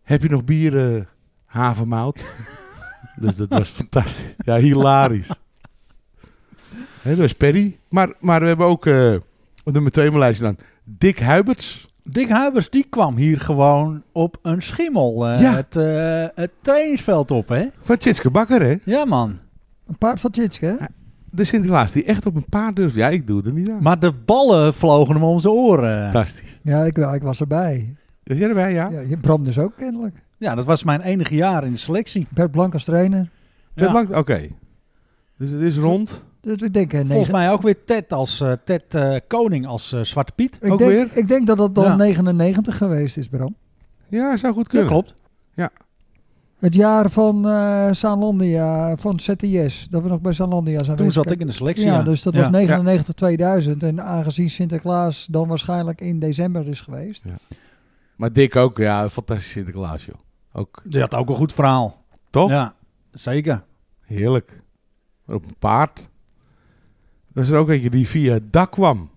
Speaker 5: Heb je nog bier, eh, havermout? dus dat was fantastisch. Ja, hilarisch. Hè, dat was Perry. Maar, maar we hebben ook eh, op nummer 2 mijn lijstje dan Dick Huiberts.
Speaker 1: Dick Huibers, die kwam hier gewoon op een schimmel eh,
Speaker 5: Ja.
Speaker 1: het, eh, het trainingsveld op, hè?
Speaker 5: Van Tjitske Bakker, hè?
Speaker 1: Ja, man.
Speaker 4: Een paard van Tjitske. hè?
Speaker 5: De Sinterklaas die echt op een paard durft. Ja, ik doe het er niet aan.
Speaker 1: Maar de ballen vlogen hem om zijn oren.
Speaker 5: Fantastisch.
Speaker 4: Ja, ik, wel, ik was erbij.
Speaker 5: Is jij erbij, ja?
Speaker 4: Ja, je Bram dus ook kennelijk.
Speaker 1: Ja, dat was mijn enige jaar in de selectie.
Speaker 4: Bert Blank als trainer.
Speaker 5: Dat
Speaker 1: Ja.
Speaker 5: maakt- Oké. Dus het is rond.
Speaker 4: Dus ik denk, eh,
Speaker 1: Volgens
Speaker 4: negen-
Speaker 1: mij ook weer Ted, als, eh, Ted eh, Koning als eh, Zwarte Piet.
Speaker 4: ik
Speaker 5: ook
Speaker 4: denk,
Speaker 5: weer?
Speaker 4: Ik denk dat dat dan
Speaker 1: Ja.
Speaker 4: 99 geweest is, Bram.
Speaker 5: Ja, zou goed
Speaker 1: Dat
Speaker 5: kunnen.
Speaker 1: klopt.
Speaker 4: Het jaar van eh Saanlandia, van ZTS, dat we nog bij Saanlandia zijn
Speaker 1: Toen
Speaker 4: geweest.
Speaker 1: zat ik in de selectie.
Speaker 4: Ja, dus dat was
Speaker 1: Ja.
Speaker 4: 99 2000. En aangezien Sinterklaas dan waarschijnlijk in december is geweest.
Speaker 5: Maar Dick ook, ja, een fantastisch Sinterklaas, joh. Ook,
Speaker 1: Die had ook een goed verhaal.
Speaker 5: toch?
Speaker 1: Ja, zeker.
Speaker 5: Heerlijk. Maar op een paard. Er is er ook eentje die via het dak kwam.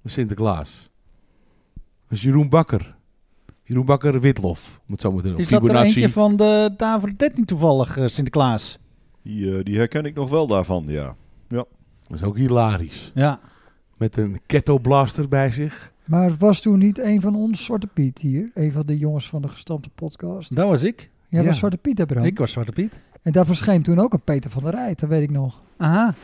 Speaker 5: met Sinterklaas. Dat is Jeroen Bakker. Jeroen Bakker Witlof, om het zo maar te noemen.
Speaker 1: Is dat er eentje van de Daver 13 toevallig, eh, Sinterklaas?
Speaker 3: Die, eh, die herken ik nog wel daarvan, ja.
Speaker 5: Dat is ook hilarisch.
Speaker 1: Ja.
Speaker 5: Met een kettleblaster bij zich.
Speaker 4: Maar het was toen niet een van ons Zwarte Piet hier? Een van de jongens van de gestampte podcast.
Speaker 1: Dat was ik.
Speaker 4: Jij
Speaker 5: Ja.
Speaker 4: was Zwarte Piet, hè Bram?
Speaker 1: Ik was Zwarte Piet.
Speaker 4: En daar verscheen toen ook een Peter van der Rijt, dat weet ik nog.
Speaker 1: Aha.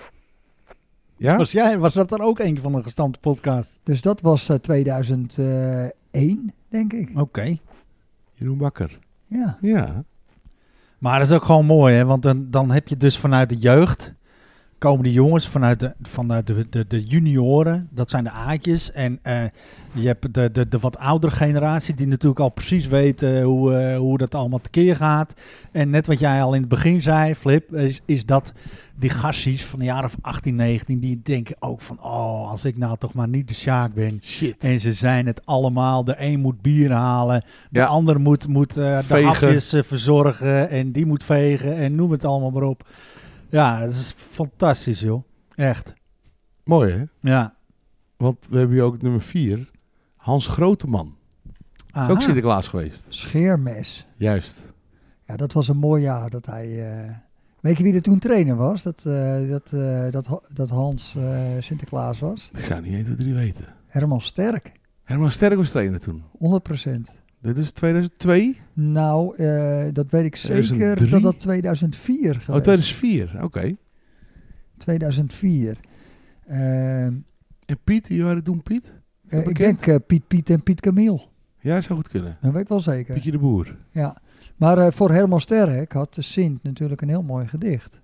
Speaker 5: Ja?
Speaker 1: Was, jij, was dat dan ook eentje van een gestampte podcast?
Speaker 4: Dus dat was eh, 2001, denk ik.
Speaker 1: Oké.
Speaker 5: Jeroen Bakker.
Speaker 4: Ja.
Speaker 5: Ja.
Speaker 1: Maar dat is ook gewoon mooi, hè? Want dan, dan heb je dus vanuit de jeugd... komen die jongens vanuit de, vanuit de, de, de junioren, dat zijn de aatjes. En eh, je hebt de, de, de wat oudere generatie die natuurlijk al precies weten hoe, eh, hoe dat allemaal tekeer gaat. En net wat jij al in het begin zei, Flip, is, is dat die gassies van de jaren of 18, 19, die denken ook van, oh, als ik nou toch maar niet de Sjaak ben.
Speaker 5: Shit.
Speaker 1: En ze zijn het allemaal. De een moet bier halen. De
Speaker 5: Ja.
Speaker 1: ander moet, moet eh, de
Speaker 5: Vegen.
Speaker 1: hapjes eh, verzorgen. En die moet vegen. En noem het allemaal maar op. Ja, dat is fantastisch, joh. Echt.
Speaker 5: Mooi, hè?
Speaker 1: Ja.
Speaker 5: Want we hebben hier ook nummer 4. Hans Groteman. Is ook
Speaker 1: Aha.
Speaker 5: Sinterklaas geweest.
Speaker 4: Scheermes.
Speaker 5: Juist.
Speaker 4: Ja, dat was een mooi jaar dat hij... eh, weet je wie er toen trainer was? Dat, eh, dat, eh, dat, Ha- dat Hans eh, Sinterklaas was?
Speaker 5: Ik zou niet 1, 2, 3 weten.
Speaker 4: Herman Sterk,
Speaker 5: Herman Sterk was trainer toen.
Speaker 4: 100%.
Speaker 5: Dit is Oh, 2002?
Speaker 4: Nou, eh, dat weet ik zeker
Speaker 5: 2003?
Speaker 4: dat dat 2004
Speaker 5: Oh,
Speaker 4: geweest
Speaker 5: 2004. Oké.
Speaker 4: 2004. Ehm,
Speaker 5: En Piet, wie waren toen Piet?
Speaker 4: eh, ik
Speaker 5: bekend?
Speaker 4: denk eh, Piet Piet en Piet Camille.
Speaker 5: Ja, zou goed kunnen.
Speaker 4: Dat weet ik wel zeker.
Speaker 5: Pietje de Boer.
Speaker 4: Ja, maar eh, voor Herman Sterk had de Sint natuurlijk een heel mooi gedicht.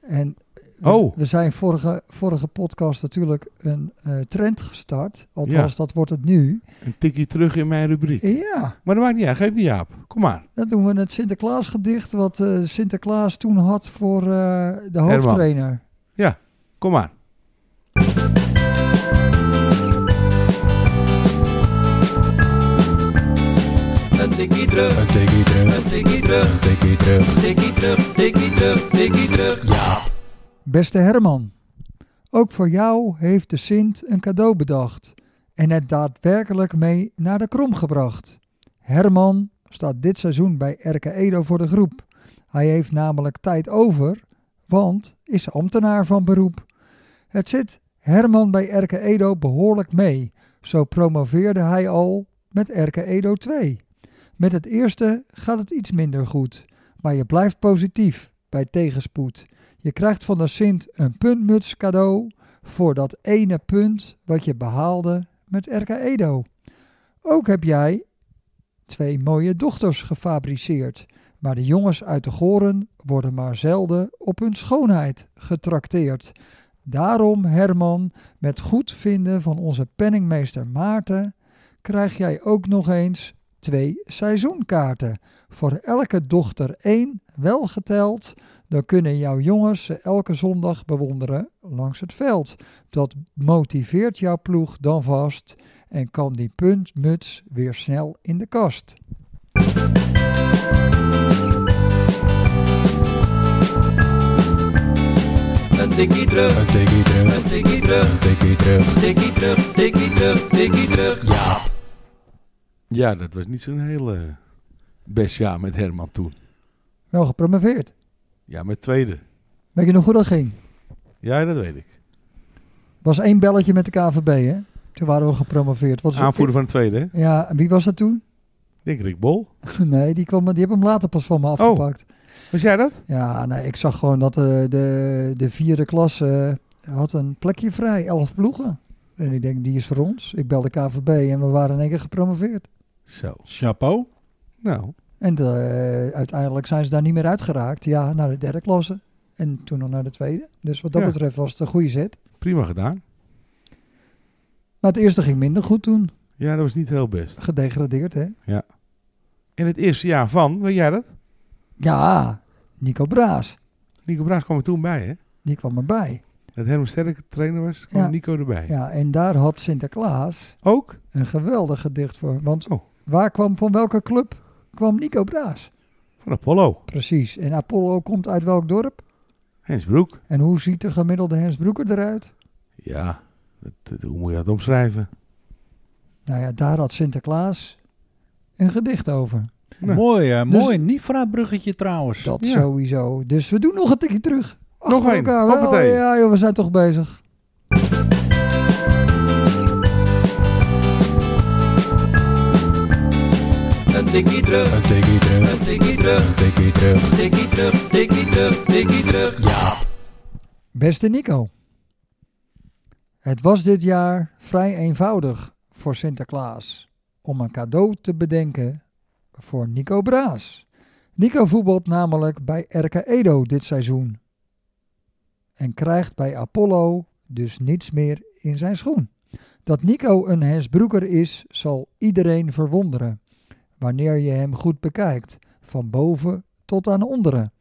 Speaker 4: En eh, we,
Speaker 5: Oh.
Speaker 4: we zijn vorige, vorige podcast natuurlijk een eh, trend gestart. Althans, dat wordt het nu.
Speaker 5: Een tikje terug in mijn rubriek.
Speaker 4: Ja,
Speaker 5: Maar dat maakt niet uit. Geef niet Jaap. Kom maar.
Speaker 4: dan doen we het Sinterklaasgedicht wat eh, Sinterklaas toen had voor eh, de hoofdtrainer.
Speaker 5: Kom maar.
Speaker 7: Een tikkie terug,
Speaker 2: Een tikkie terug,
Speaker 7: een tikkie terug,
Speaker 2: een tikkie terug.
Speaker 7: tikkie terug, tikkie terug, tikkie terug.
Speaker 4: Beste Herman, ook voor jou heeft de Sint een cadeau bedacht en het daadwerkelijk mee naar de krom gebracht. Herman staat dit seizoen bij Erke Edo voor de groep. Hij heeft namelijk tijd over, want is ambtenaar van beroep. Het zit Herman bij Erke Edo behoorlijk mee. Zo promoveerde hij al met Erke Edo 2. Met het eerste gaat het iets minder goed, maar je blijft positief bij tegenspoed. Je krijgt van de Sint een puntmuts cadeau voor dat ene punt wat je behaalde met RK Edo. Ook heb jij twee mooie dochters gefabriceerd, maar de jongens uit de Goren worden maar zelden op hun schoonheid getrakteerd. Daarom, Herman, met goed vinden van onze penningmeester Maarten, krijg jij ook nog eens twee seizoenkaarten. Voor elke dochter één, welgeteld, dan kunnen jouw jongens ze elke zondag bewonderen langs het veld. Dat motiveert jouw ploeg dan vast en kan die puntmuts weer snel in de kast.
Speaker 7: Een tikkie terug,
Speaker 2: Een tikkie terug,
Speaker 7: een tikkie terug,
Speaker 2: een tikkie terug.
Speaker 7: tikkie terug, tikkie terug, tikkie terug.
Speaker 5: Ja, dat was niet zo'n hele best jaar met Herman toen.
Speaker 4: Wel gepromoveerd.
Speaker 5: Ja, met tweede.
Speaker 4: Weet je nog hoe dat ging?
Speaker 5: Ja, dat weet ik.
Speaker 4: Was één belletje met de KVB, hè? Toen waren we gepromoveerd. Wat is
Speaker 5: Aanvoerder van de tweede, hè? Ik
Speaker 4: Ja, en wie was dat toen?
Speaker 5: Denk Rick Bol.
Speaker 4: Nee, die, kwam, die heb hem later pas van me afgepakt.
Speaker 5: Was jij dat?
Speaker 4: Ja, nee, ik zag gewoon dat eh, de, de vierde klasse eh, had een plekje vrij, elf ploegen. En ik denk, die is voor ons. Ik belde KVB en we waren in één keer gepromoveerd.
Speaker 5: Zo.
Speaker 1: Chapeau.
Speaker 5: Nou,
Speaker 4: En eh, uiteindelijk zijn ze daar niet meer uitgeraakt. Ja, naar de derde klasse. En toen nog naar de tweede. Dus wat dat
Speaker 5: Ja.
Speaker 4: betreft was het een goede zet.
Speaker 5: prima gedaan.
Speaker 4: Maar het eerste ging minder goed toen.
Speaker 5: Ja, dat was niet heel best.
Speaker 4: Gedegradeerd, hè?
Speaker 5: In het eerste jaar van, weet jij dat?
Speaker 4: Ja, Nico Braas.
Speaker 5: Nico Braas kwam er toen bij, hè?
Speaker 4: Die kwam erbij.
Speaker 5: Dat Herman Sterk trainer was, kwam
Speaker 4: Ja.
Speaker 5: Nico erbij.
Speaker 4: Ja, en daar had Sinterklaas
Speaker 5: Ook?
Speaker 4: een geweldig gedicht voor. Want
Speaker 5: Oh.
Speaker 4: waar kwam, van welke club kwam Nico Braas?
Speaker 5: Van Apollo.
Speaker 4: Precies. En Apollo komt uit welk dorp?
Speaker 5: Hens Broek.
Speaker 4: En hoe ziet de gemiddelde Hens Broeker eruit?
Speaker 5: Ja, dat, dat- hoe moet je dat omschrijven?
Speaker 4: Nou ja, daar had Sinterklaas een gedicht over.
Speaker 5: Nou.
Speaker 1: Mooi, eh,
Speaker 4: Dus-
Speaker 1: mooi. Nifra-bruggetje trouwens.
Speaker 4: Dat
Speaker 5: Ja.
Speaker 4: sowieso. Dus we doen nog een tikje terug. Achter
Speaker 5: Nog één.
Speaker 4: elkaar. Wel,
Speaker 5: Hoppatee.
Speaker 4: ja, joh, we zijn toch bezig.
Speaker 7: Een tikkie terug,
Speaker 2: Een tikkie terug,
Speaker 7: een tikkie terug,
Speaker 2: een tikkie terug.
Speaker 7: tikkie terug, tikkie terug, tikkie terug.
Speaker 4: Beste Nico. Het was dit jaar vrij eenvoudig voor Sinterklaas om een cadeau te bedenken voor Nico Braas. Nico voetbalt namelijk bij RK Edo dit seizoen. en krijgt bij Apollo dus niets meer in zijn schoen. Dat Nico een Hensbroeker is, zal iedereen verwonderen. Wanneer je hem goed bekijkt, van boven tot aan onderen.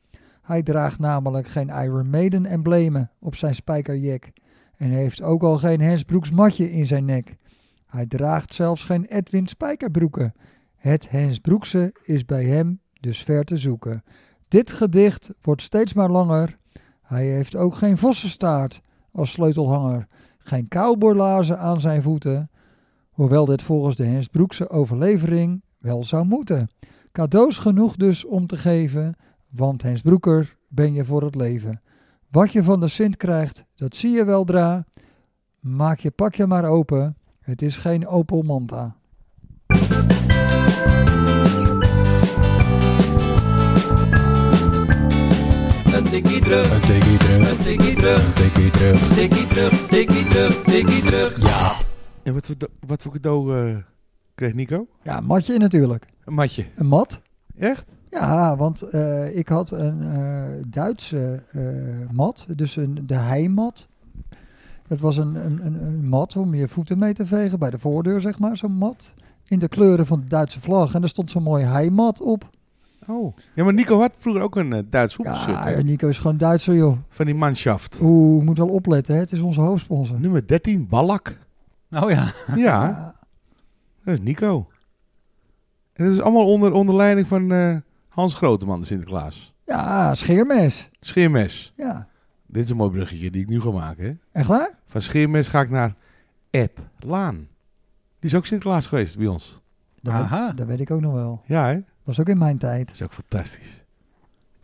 Speaker 4: Hij draagt namelijk geen Iron Maiden emblemen op zijn spijkerjack. En heeft ook al geen Hensbroeks matje in zijn nek. Hij draagt zelfs geen Edwin spijkerbroeken. Het Hensbroekse is bij hem dus ver te zoeken. Dit gedicht wordt steeds maar langer. Hij heeft ook geen vossenstaart als sleutelhanger. Geen cowboylaarzen aan zijn voeten. Hoewel dit volgens de Hensbroekse overlevering wel zou moeten. Cadeaus genoeg dus om te geven, want Hensbroeker ben je voor het leven. Wat je van de Sint krijgt, dat zie je wel dra. Maak je pakje maar open, het is geen Opel Manta.
Speaker 7: Een tikkie terug,
Speaker 2: Een tikkie terug,
Speaker 7: een tikkie terug,
Speaker 2: een tikkie terug.
Speaker 7: tikkie terug, tikkie terug, tikkie terug.
Speaker 2: Ja.
Speaker 5: En wat voor, do- wat voor cadeau eh, kreeg Nico?
Speaker 4: Ja, matje in natuurlijk.
Speaker 5: Een matje.
Speaker 4: Een mat?
Speaker 5: Echt?
Speaker 4: Ja, want eh, ik had een eh, Duitse eh, mat, dus een, de heimat. Dat was een, een, een, een mat om je voeten mee te vegen bij de voordeur, zeg maar, zo'n mat. In de kleuren van de Duitse vlag. En er stond zo'n mooi heimat op.
Speaker 5: Oh. Ja, maar Nico had vroeger ook een eh, Duits voetbalshirt.
Speaker 4: Ja,
Speaker 5: hè?
Speaker 4: Nico is gewoon Duitser, joh.
Speaker 5: Van die manschaft.
Speaker 4: Oeh, moet wel opletten, hè? het is onze hoofdsponsor.
Speaker 5: Nummer 13, Ballack.
Speaker 1: Nou ja.
Speaker 5: Ja, dat is Nico. En dat is allemaal onder, onder leiding van eh, Hans Groteman, de Sinterklaas.
Speaker 4: Ja, scheermes.
Speaker 5: Scheermes.
Speaker 4: Ja.
Speaker 5: Dit is een mooi bruggetje die ik nu ga maken. Hè?
Speaker 4: Echt waar?
Speaker 5: Van Scheermes ga ik naar Ed Laan. Die is ook Sinterklaas geweest bij ons.
Speaker 4: Dat,
Speaker 1: Aha.
Speaker 4: Weet, dat weet ik ook nog wel.
Speaker 5: Ja, hè?
Speaker 4: Was ook in mijn tijd.
Speaker 5: Dat is ook fantastisch.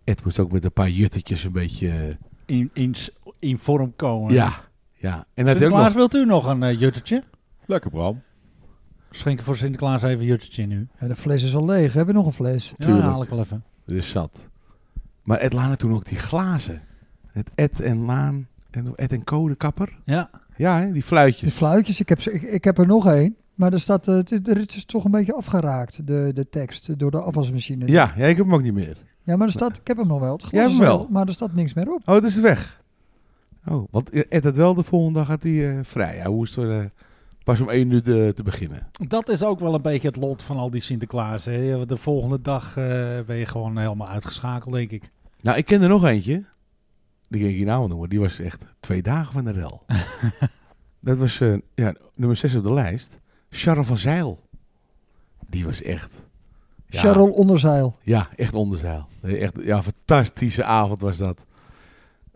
Speaker 5: Ed moest ook met een paar juttetjes een beetje... eh,
Speaker 1: In, in, in vorm komen.
Speaker 5: ja, ja. En hij had ook
Speaker 1: Sinterklaas,
Speaker 5: nog...
Speaker 1: wilt u nog een eh, juttertje?
Speaker 3: Lekker Bram.
Speaker 1: Schenken voor Sinterklaas even een juttertje in u.
Speaker 4: Ja, de fles is al leeg. Hebben we nog een fles?
Speaker 1: Ja,
Speaker 5: Tuurlijk.
Speaker 1: haal ik wel even.
Speaker 5: Er is Dus zat. Maar Ed Laan had toen ook die glazen. Het Ed en Laan... En Ed en Co, de kapper.
Speaker 1: Ja.
Speaker 5: Ja, hè? die fluitjes.
Speaker 4: De fluitjes, ik heb, ze- ik, ik heb er nog één. Maar er, staat, eh, het is, er is toch een beetje afgeraakt, de, de tekst, eh, door de afwasmachine.
Speaker 5: Ja, ja, ik heb hem ook niet meer.
Speaker 4: ja, maar er staat, ik heb hem nog wel. Het glas
Speaker 5: Jij hebt
Speaker 4: is
Speaker 5: hem
Speaker 4: er
Speaker 5: wel.
Speaker 4: Maar er staat niks meer op.
Speaker 5: Oh, het is weg. Oh, want Ed had wel de volgende dag had hij eh, vrij. Hij hoest er eh, pas om één uur eh, te beginnen.
Speaker 1: Dat is ook wel een beetje het lot van al die Sinterklaas. Hè. De volgende dag eh, ben je gewoon helemaal uitgeschakeld, denk ik.
Speaker 5: Nou, ik kende nog eentje. Die ging ik je nou wel noemen. Die was echt twee dagen van de rel. dat was eh, ja, nummer zes op de lijst. Charles van Zeil. Die was echt... Ja,
Speaker 4: Cheryl Onderzeil.
Speaker 5: Ja, echt onderzeil. Nee, Echt, ja, fantastische avond was dat.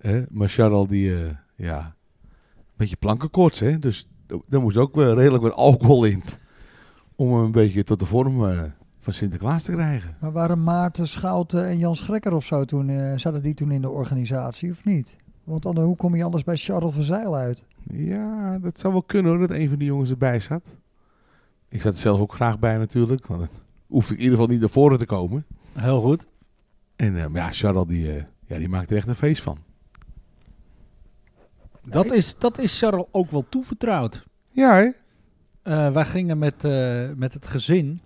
Speaker 5: Hè, maar Charles, die, eh, ja, een beetje plankenkoorts, hè. Dus daar moest ook eh, redelijk wat alcohol in. Om hem een beetje tot de vorm eh, van Sinterklaas te krijgen.
Speaker 4: Maar waren Maarten Schouten en Jan Schrekker of zo toen, eh, zaten die toen in de organisatie of niet? Want dan, hoe kom je anders bij Charles van Zeil uit?
Speaker 5: Ja, dat zou wel kunnen hoor, dat een van die jongens erbij zat. Ik zat er zelf ook graag bij natuurlijk. Want dan hoefde ik in ieder geval niet naar voren te komen.
Speaker 1: Heel goed.
Speaker 5: En eh, maar ja, Charles, die, eh, ja, die maakte er echt een feest van.
Speaker 1: Dat is, dat is Charles ook wel toevertrouwd.
Speaker 5: Ja, hè?
Speaker 1: Eh, wij gingen met, eh, met het gezin,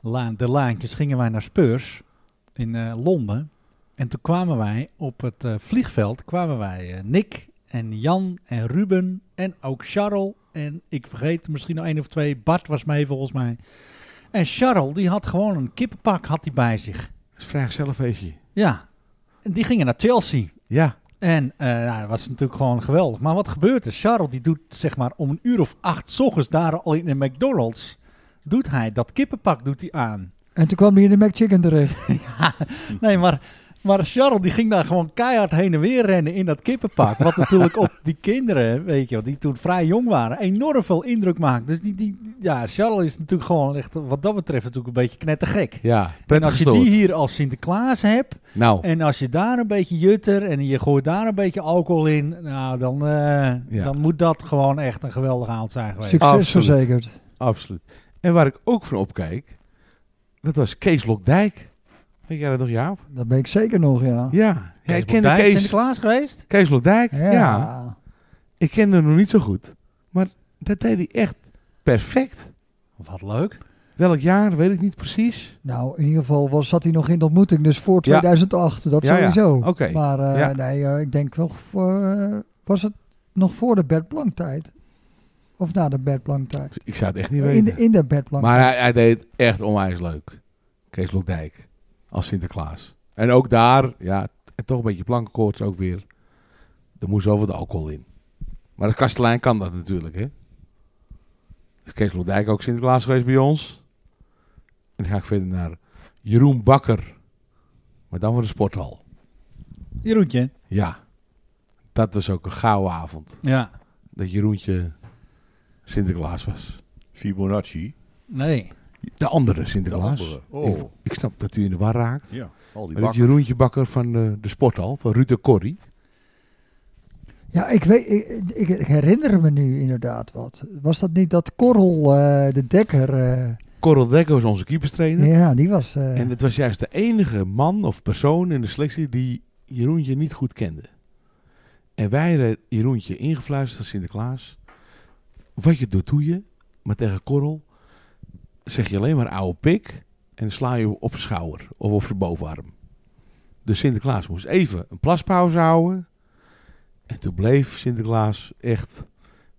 Speaker 1: la- de laantjes, gingen wij naar Spurs in eh, Londen. En toen kwamen wij op het eh, vliegveld, kwamen wij eh, Nick en Jan en Ruben en ook Charles. En ik vergeet misschien nog één of twee, Bart was mee volgens mij. En Charles, die had gewoon een kippenpak had hij bij zich.
Speaker 5: Dat is vrijgezellenfeestje.
Speaker 1: Ja, en die gingen naar Chelsea.
Speaker 5: Ja.
Speaker 1: En eh nou, dat was natuurlijk gewoon geweldig. Maar wat gebeurt er? Charles die doet zeg maar om een uur of acht 's ochtends daar al in de McDonald's. Doet hij dat kippenpak doet hij aan.
Speaker 4: En toen kwam hij in de McChicken
Speaker 5: Oh
Speaker 4: terecht.
Speaker 1: Nee, maar, maar Charles die ging daar gewoon keihard heen en weer rennen in dat kippenpak. Wat natuurlijk op die kinderen, weet je wel, die toen vrij jong waren, enorm veel indruk maakt. Dus die, die, ja, Charles is natuurlijk gewoon echt wat dat betreft natuurlijk een beetje knettergek.
Speaker 5: Ja,
Speaker 1: En
Speaker 5: prettig
Speaker 1: als je
Speaker 5: gestoord.
Speaker 1: die hier als Sinterklaas hebt,
Speaker 5: Nou,
Speaker 1: En als je daar een beetje jutter en je gooit daar een beetje alcohol in, nou, dan, eh,
Speaker 5: Ja.
Speaker 1: dan moet dat gewoon echt een geweldige avond zijn geweest.
Speaker 4: Succes
Speaker 5: Absoluut.
Speaker 4: verzekerd.
Speaker 5: absoluut. En waar ik ook van opkijk, dat was Kees Lokdijk. Weet jij dat nog, Jaap?
Speaker 4: Dat ben ik zeker nog, ja.
Speaker 5: Ja, ja ik kende
Speaker 1: Dijk,
Speaker 5: Kees,
Speaker 1: Sinterklaas geweest?
Speaker 5: Kees Lokdijk. Ja.
Speaker 4: Ja.
Speaker 5: ik kende hem nog niet zo goed. Maar dat deed hij echt perfect.
Speaker 1: Wat leuk.
Speaker 5: Dat Welk jaar, weet ik niet precies.
Speaker 4: Nou, in ieder geval was, zat hij nog in de ontmoeting, dus voor
Speaker 5: Ja.
Speaker 4: 2008, dat
Speaker 5: Ja, ja.
Speaker 4: sowieso.
Speaker 5: Oké.
Speaker 4: Maar eh,
Speaker 5: Ja.
Speaker 4: nee, eh, ik denk wel, voor, eh, was het nog voor de Bert Blank tijd? Of na de Bert Blank tijd?
Speaker 5: Ik zou het echt niet
Speaker 4: In
Speaker 5: weten.
Speaker 4: de, in de Bert Blank
Speaker 5: Maar hij, hij deed echt onwijs leuk. Kees Lokdijk als Sinterklaas. En ook daar, ja, en toch een beetje plankenkoorts ook weer. Er moest wel wat alcohol in. Maar het kastelein kan dat natuurlijk, hè. Is Kees Lokdijk ook Sinterklaas geweest bij ons. En dan ga ik verder naar Jeroen Bakker. Maar dan voor de sporthal.
Speaker 1: Jeroentje.
Speaker 5: Ja, dat was ook een gouden avond.
Speaker 1: Ja.
Speaker 5: Dat Jeroentje Sinterklaas was.
Speaker 3: Fibonacci.
Speaker 1: Nee.
Speaker 5: De andere
Speaker 3: De
Speaker 5: Sinterklaas.
Speaker 3: andere.
Speaker 5: Ik,
Speaker 3: Oh,
Speaker 5: ik snap dat u in de war raakt.
Speaker 3: ja. Al die
Speaker 5: Maar dat
Speaker 3: bakken.
Speaker 5: Jeroentje Bakker van eh, de Sporthal, van Ruud de Corrie.
Speaker 4: Ja, ik, weet, ik, ik, ik herinner me nu inderdaad wat. Was dat niet dat Korrel eh, de Dekker? eh,
Speaker 5: Correl Dekker was onze keeperstrainer.
Speaker 4: ja, die was... eh,
Speaker 5: En het was juist de enige man of persoon in de selectie die Jeroentje niet goed kende. En wij hadden Jeroentje ingefluisterd als Sinterklaas. Wat je doet, doe je. Maar tegen Korrel zeg je alleen maar oude pik. En sla je op zijn schouder of op zijn bovenarm. Dus Sinterklaas moest even een plaspauze houden. En toen bleef Sinterklaas echt,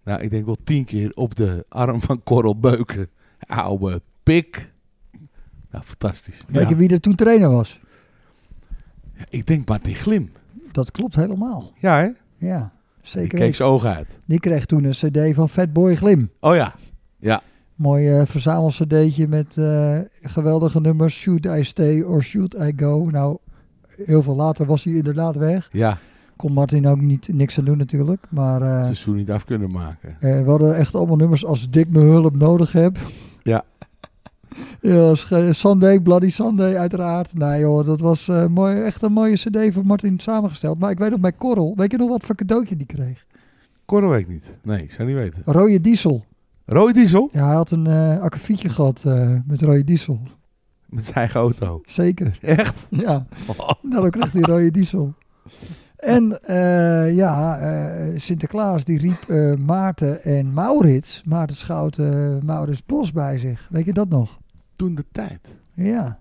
Speaker 5: nou ik denk wel tien keer op de arm van Korrel beuken. Oude pik. Nou, fantastisch.
Speaker 4: weet
Speaker 5: Ja.
Speaker 4: je wie er toen trainer was?
Speaker 5: Ja, ik denk Martin Glim.
Speaker 4: Dat klopt helemaal.
Speaker 5: Ja, hè?
Speaker 4: Ja,
Speaker 5: Ik
Speaker 4: zeker
Speaker 5: keek
Speaker 4: weten.
Speaker 5: zijn ogen uit.
Speaker 4: Die kreeg toen een cd van Fatboy Glim.
Speaker 5: Oh ja.
Speaker 4: Mooi eh, verzamelcd'tje met eh, geweldige nummers. Should I Stay or Should I Go? Nou, heel veel later was hij inderdaad weg.
Speaker 5: Ja,
Speaker 4: Kon Martin ook niet, niks aan doen natuurlijk. Maar eh,
Speaker 5: het seizoen niet af kunnen maken.
Speaker 4: eh, we hadden echt allemaal nummers als Dick me hulp nodig heb.
Speaker 5: Ja.
Speaker 4: ja, sch- Sunday, Bloody Sunday uiteraard. Nee joh, dat was eh, mooi, echt een mooie cd van Martin samengesteld. Maar ik weet nog bij Korrel, weet je nog wat voor cadeautje die kreeg?
Speaker 5: Korrelweek niet. Nee, ik zou niet weten.
Speaker 4: Rode Diesel.
Speaker 5: Roy Diesel?
Speaker 4: Ja, hij had een eh akkefietje gehad eh, met rode diesel.
Speaker 5: Met zijn eigen auto.
Speaker 4: Zeker.
Speaker 5: Echt?
Speaker 4: Ja, daarom kreeg hij rode diesel. En eh, ja, eh, Sinterklaas die riep eh, Maarten en Maurits, Maarten Schouten, Maurits Bos bij zich. Weet je dat nog?
Speaker 5: Toen de tijd.
Speaker 4: Ja,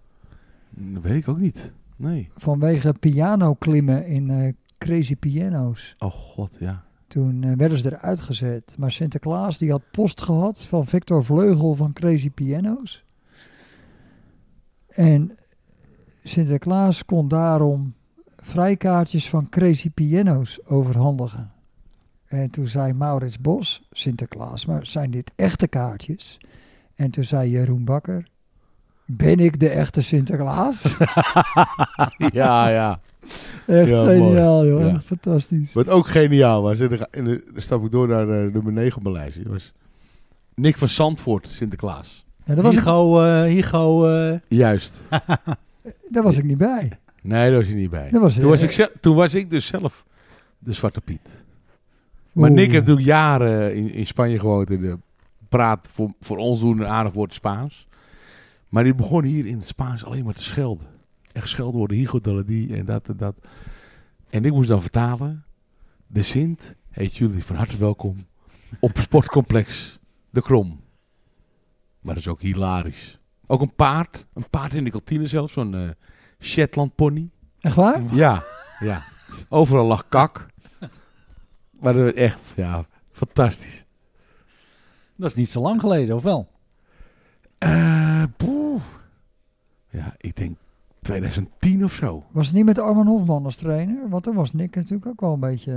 Speaker 5: Dat weet ik ook niet. Nee.
Speaker 4: vanwege pianoklimmen in eh, Crazy Piano's.
Speaker 5: Oh god, ja.
Speaker 4: Toen eh, werden ze eruit gezet. Maar Sinterklaas die had post gehad van Victor Vleugel van Crazy Piano's. En Sinterklaas kon daarom vrijkaartjes van Crazy Piano's overhandigen. En toen zei Maurits Bos, Sinterklaas, maar zijn dit echte kaartjes? En toen zei Jeroen Bakker, ben ik de echte Sinterklaas?
Speaker 5: ja, ja.
Speaker 4: Echt
Speaker 5: Ja, mooi.
Speaker 4: geniaal, joh.
Speaker 5: Ja.
Speaker 4: Echt fantastisch.
Speaker 5: Wat ook geniaal was. En dan, ga- en dan stap ik door naar eh, nummer 9 op mijn lijstje. Was Nick van Zandvoort, Sinterklaas.
Speaker 4: Ja, Nou, daar, was ik,
Speaker 1: Higo, eh Higo eh,
Speaker 5: Juist.
Speaker 4: daar was ik niet bij.
Speaker 5: Nee, daar was je niet bij.
Speaker 4: Dat was-
Speaker 5: toen, was ik zel- toen was ik dus zelf de Zwarte Piet. Maar
Speaker 4: Oeh.
Speaker 5: Nick heeft natuurlijk jaren in, in Spanje gewoond en eh, praat voor, voor ons doen een aardig woord Spaans. Maar die begon hier in het Spaans alleen maar te schelden. Echt schelden worden, higo de die en dat en dat. En ik moest dan vertalen. De Sint heet jullie van harte welkom op sportcomplex De Krom. Maar dat is ook hilarisch. Ook een paard, een paard in de kantine zelf, zo'n eh, Shetland pony.
Speaker 4: Echt waar?
Speaker 5: Ja, ja. Overal lag kak. Maar dat was echt, ja, fantastisch.
Speaker 1: dat is niet zo lang geleden, of wel?
Speaker 5: Eh, poeh. Ja, ik denk 2010 of zo.
Speaker 4: Was het niet met Arman Hofman als trainer? Want dan was Nick natuurlijk ook wel een beetje...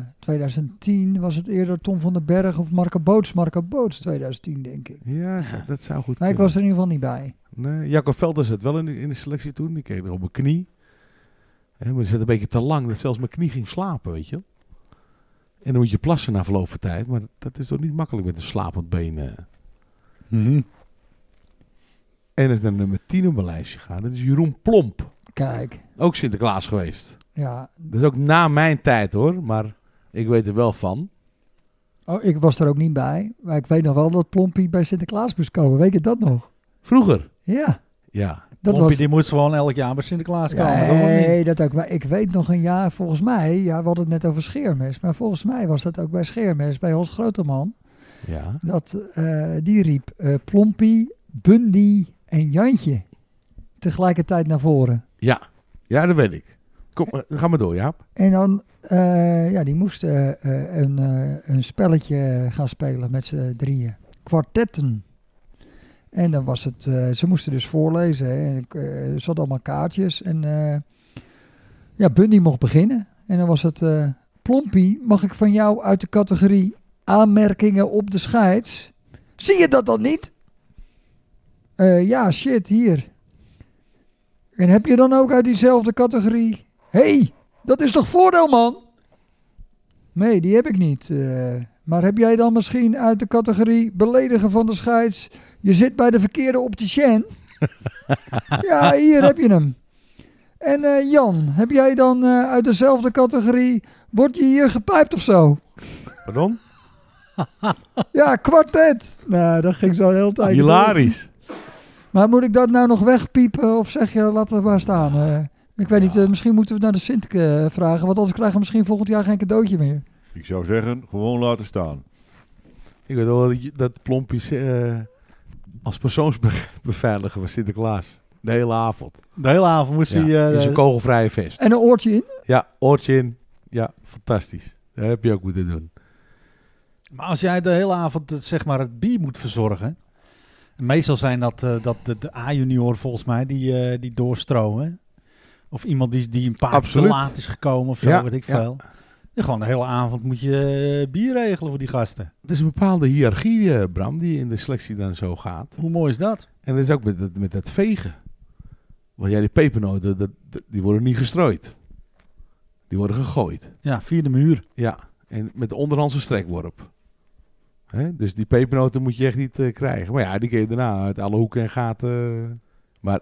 Speaker 4: eh, 2010 was het eerder Tom van den Berg of Marco Boots. Marco Boots 2010, denk ik.
Speaker 5: Ja, zo- dat zou goed
Speaker 4: Maar ik
Speaker 5: kunnen.
Speaker 4: was er in ieder geval niet bij.
Speaker 5: Nee, Jacob Velder zat wel in de, in de selectie toen. Die kreeg er op mijn knie. Hè, maar die zat een beetje te lang. Dat zelfs mijn knie ging slapen, weet je. wel. En dan moet je plassen na verloop van tijd. Maar dat is toch niet makkelijk met een slapend been. eh. Mhm. En als ik naar nummer 10 op mijn lijstje ga, dat is Jeroen Plomp.
Speaker 4: Kijk,
Speaker 5: Ook Sinterklaas geweest.
Speaker 4: ja.
Speaker 5: Dat is ook na mijn tijd hoor, maar ik weet er wel van.
Speaker 4: Oh, ik was er ook niet bij. Maar ik weet nog wel dat Plompie bij Sinterklaas moest komen. Weet je dat nog?
Speaker 5: Vroeger,
Speaker 4: Ja,
Speaker 5: ja.
Speaker 4: dat
Speaker 1: Pompie,
Speaker 4: was...
Speaker 1: die moet gewoon elk jaar bij Sinterklaas komen. dat wordt niet.
Speaker 4: Nee, dat ook. Maar ik weet nog een jaar, volgens mij... Ja, we hadden het net over Scheermes. Maar volgens mij was dat ook bij Scheermes, bij Hans Groteman.
Speaker 5: ja.
Speaker 4: Dat, eh, die riep eh Plompie, Bundy en Jantje tegelijkertijd naar voren.
Speaker 5: Ja. ja, dat weet ik. Kom, eh, ga maar door, Jaap.
Speaker 4: En dan, eh, ja, die moesten eh, eh, een, eh, een spelletje gaan spelen met z'n drieën. Kwartetten. En dan was het, eh, ze moesten dus voorlezen. Hè, en ik, eh, ze hadden allemaal kaartjes. En eh, ja, Bundy mocht beginnen. En dan was het, eh Plompie, mag ik van jou uit de categorie aanmerkingen op de scheids? Zie je dat dan niet? Eh, ja, shit, hier. En heb je dan ook uit diezelfde categorie... hey, dat is toch voordeel, man? Nee, die heb ik niet. eh. maar heb jij dan misschien uit de categorie beledigen van de scheids... je zit bij de verkeerde opticien? ja, hier heb je hem. En eh, Jan, heb jij dan eh, uit dezelfde categorie... word je hier gepijpt of zo?
Speaker 5: Pardon?
Speaker 4: Ja, kwartet. Nou, dat ging zo heel tijd. door.
Speaker 3: Hilarisch.
Speaker 4: Maar moet ik dat nou nog wegpiepen of zeg je, laat het maar staan? eh? ik weet niet, eh, misschien moeten we het naar de Sint eh, vragen... want anders krijgen we misschien volgend jaar geen cadeautje meer.
Speaker 3: Ik zou zeggen, gewoon laten staan.
Speaker 5: Ik weet wel dat je- dat Plompjes eh, als persoonsbeveiliger was Sinterklaas. De hele avond.
Speaker 1: De hele avond moest
Speaker 5: Ja,
Speaker 1: hij... eh,
Speaker 5: in zijn kogelvrije vest.
Speaker 4: En een oortje in.
Speaker 5: Ja, oortje in. Ja, fantastisch. Dat heb je ook moeten doen.
Speaker 1: Maar als jij de hele avond eh, zeg maar, het bier moet verzorgen. en Meestal zijn dat, eh, dat de, de A-junior volgens mij die, eh, die doorstromen. Of iemand die, die een paar keer te
Speaker 5: Absoluut.
Speaker 1: laat is gekomen of zo,
Speaker 5: Ja,
Speaker 1: weet ik
Speaker 5: ja.
Speaker 1: veel. Ja, gewoon de hele avond moet je eh, bier regelen voor die gasten.
Speaker 5: Er is een bepaalde hiërarchie, eh, Bram, die in de selectie dan zo gaat.
Speaker 1: Hoe mooi is dat?
Speaker 5: En dat is ook met dat, met dat vegen. Want jij, die pepernoten, dat, dat- die worden niet gestrooid. Die worden gegooid.
Speaker 1: Ja, vierde muur.
Speaker 5: Ja, en met de onderhandse strekworp. Hè? Dus die pepernoten moet je echt niet eh, krijgen. Maar ja, die kun je daarna uit alle hoeken en gaten. eh. Maar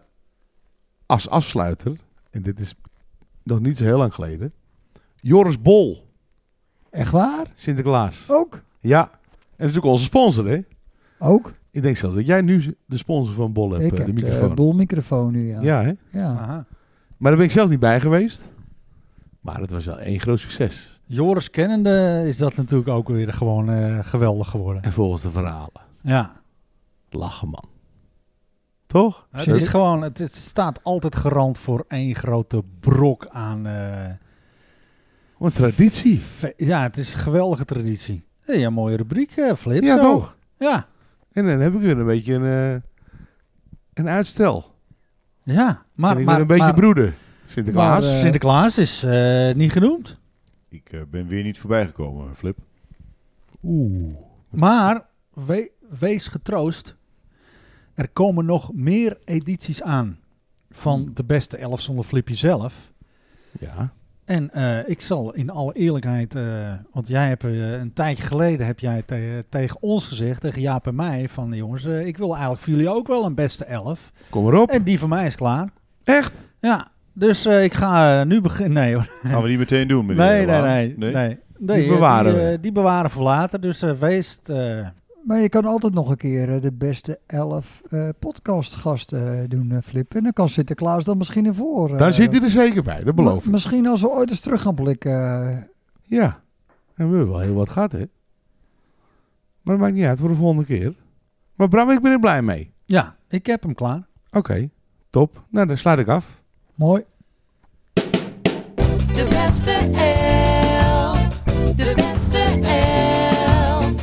Speaker 5: als afsluiter, en dit is nog niet zo heel lang geleden. Joris Bol,
Speaker 4: Echt waar?
Speaker 5: Sinterklaas.
Speaker 4: Ook?
Speaker 5: Ja, en dat is natuurlijk onze sponsor, hè?
Speaker 4: Ook?
Speaker 5: Ik denk zelfs dat jij nu de sponsor van Bol hebt,
Speaker 4: ik
Speaker 5: eh,
Speaker 4: heb
Speaker 5: de
Speaker 4: de
Speaker 5: microfoon.
Speaker 4: bolmicrofoon nu, ja.
Speaker 5: ja, hè?
Speaker 4: Ja.
Speaker 1: Aha.
Speaker 5: Maar daar ben ik zelf niet bij geweest. Maar het was wel één groot succes.
Speaker 1: Joris kennende is dat natuurlijk ook weer gewoon eh, geweldig geworden.
Speaker 5: En volgens de verhalen.
Speaker 1: Ja.
Speaker 5: Lachen, man. Toch?
Speaker 1: Het
Speaker 5: Zullen-
Speaker 1: is gewoon, het is- staat altijd garant voor één grote brok aan... eh,
Speaker 5: Wat een traditie.
Speaker 1: Fe- Ja, het is een geweldige traditie. Hey, een mooie rubriek, eh, Flip.
Speaker 5: Ja,
Speaker 1: zo.
Speaker 5: toch?
Speaker 1: Ja,
Speaker 5: En dan heb ik weer een beetje een, eh, een uitstel.
Speaker 1: ja.
Speaker 5: en
Speaker 1: Maar,
Speaker 5: ik
Speaker 1: maar,
Speaker 5: ben een beetje
Speaker 1: maar
Speaker 5: broeder. Sinterklaas.
Speaker 4: Maar, eh,
Speaker 1: Sinterklaas is eh, niet genoemd.
Speaker 3: Ik eh, ben weer niet voorbij gekomen, Flip.
Speaker 5: Oeh.
Speaker 1: Maar we- wees getroost. Er komen nog meer edities aan van de beste elf zonder Flipje zelf.
Speaker 5: Ja.
Speaker 1: En eh, ik zal in alle eerlijkheid, eh, want jij hebt eh, een tijdje geleden heb jij te- tegen ons gezegd, tegen Jaap en mij, van jongens, eh, ik wil eigenlijk voor jullie ook wel een beste elf.
Speaker 5: Kom erop.
Speaker 1: En die van mij is klaar.
Speaker 5: Echt?
Speaker 1: Ja, dus eh, ik ga eh, nu beginnen. Nee hoor.
Speaker 3: Gaan we die meteen doen, meneer
Speaker 1: Nee, nee,
Speaker 3: Laan?
Speaker 1: nee, nee. Nee,
Speaker 5: Die
Speaker 1: eh,
Speaker 5: bewaren
Speaker 1: die,
Speaker 5: we.
Speaker 1: eh, die bewaren voor later. Dus eh, wees. eh,
Speaker 4: Maar je kan altijd nog een keer eh, de beste elf eh, podcastgasten eh, doen, eh, Flip. En dan kan Sinterklaas dan misschien ervoor. eh,
Speaker 5: Daar zit hij er zeker bij, dat beloof
Speaker 4: Ma-
Speaker 5: ik.
Speaker 4: Misschien als we ooit eens terug gaan blikken. eh,
Speaker 5: Ja. En we hebben wel heel wat gehad, hè? Maar dat maakt niet uit voor de volgende keer. Maar Bram, ik ben er blij mee.
Speaker 1: ja, ik heb hem klaar.
Speaker 5: Oké, top. Nou, dan sluit ik af.
Speaker 4: mooi.
Speaker 6: De beste elf. De beste elf.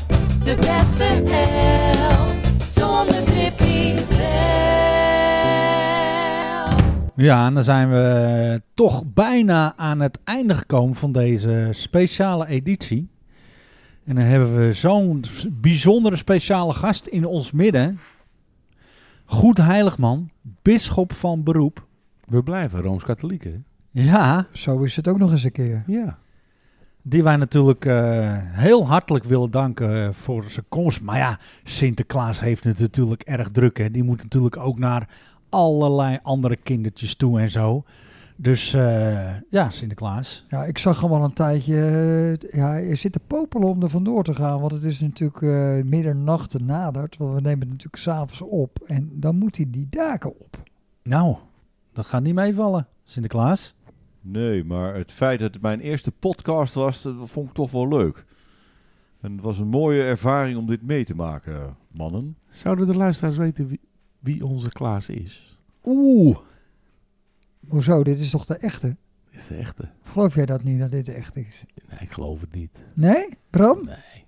Speaker 6: De beste elf. Zonder Tippy zelf.
Speaker 1: Ja, en dan zijn we eh, toch bijna aan het einde gekomen van deze speciale editie. En dan hebben we zo'n bijzondere speciale gast in ons midden. Goed heiligman, bisschop van beroep.
Speaker 5: We blijven Rooms-Katholieken. hè?
Speaker 1: Ja,
Speaker 4: Zo is het ook nog eens een keer.
Speaker 5: Ja.
Speaker 1: Die wij natuurlijk eh, heel hartelijk willen danken eh, voor zijn komst. Maar ja, Sinterklaas heeft het natuurlijk erg druk. Hè. Die moet natuurlijk ook naar allerlei andere kindertjes toe en zo. Dus eh, ja, Sinterklaas.
Speaker 4: Ja, ik zag hem al een tijdje. eh, ja, je zit te popelen om er vandoor te gaan. Want het is natuurlijk eh, middernacht nadert. Want we nemen het natuurlijk s'avonds op. En dan moet hij die daken op.
Speaker 1: Nou, dat gaat niet meevallen, Sinterklaas.
Speaker 3: Nee, maar het feit dat het mijn eerste podcast was, dat vond ik toch wel leuk. En het was een mooie ervaring om dit mee te maken, mannen.
Speaker 5: Zouden de luisteraars weten wie, wie onze Klaas is?
Speaker 1: Oeh.
Speaker 4: Hoezo, dit is toch de echte?
Speaker 5: Is de echte?
Speaker 4: Of geloof jij dat niet, dat dit de echte is?
Speaker 5: Nee, ik geloof het niet.
Speaker 4: Nee? Bram?
Speaker 5: Nee.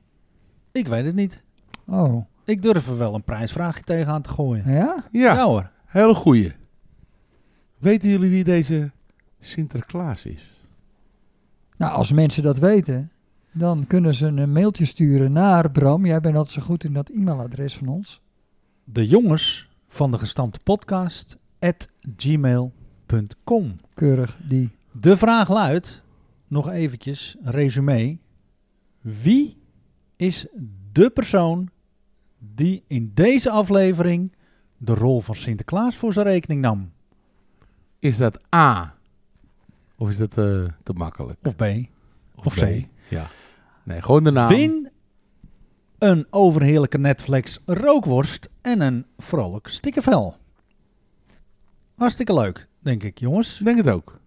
Speaker 1: Ik weet het niet.
Speaker 4: Oh,
Speaker 1: Ik durf er wel een prijsvraagje tegenaan te gooien.
Speaker 4: ja?
Speaker 5: Ja,
Speaker 1: ja hoor.
Speaker 5: hele goeie. Weten jullie wie deze Sinterklaas is?
Speaker 4: Nou, als mensen dat weten, dan kunnen ze een mailtje sturen naar Bram. Jij bent altijd zo goed in dat e-mailadres van ons.
Speaker 1: De jongens van de gestampte podcast at gmail.com.
Speaker 4: Keurig, die.
Speaker 1: De vraag luidt, nog eventjes, een resume. Wie is de persoon die in deze aflevering de rol van Sinterklaas voor zijn rekening nam?
Speaker 5: Is dat A? Of is dat eh, te makkelijk?
Speaker 1: Of B? Of
Speaker 5: B?
Speaker 1: C?
Speaker 5: Ja. Nee, gewoon de naam.
Speaker 1: Win een overheerlijke Netflix rookworst en een vrolijk stikkervel. Hartstikke leuk, denk ik, jongens.
Speaker 5: Ik denk het ook.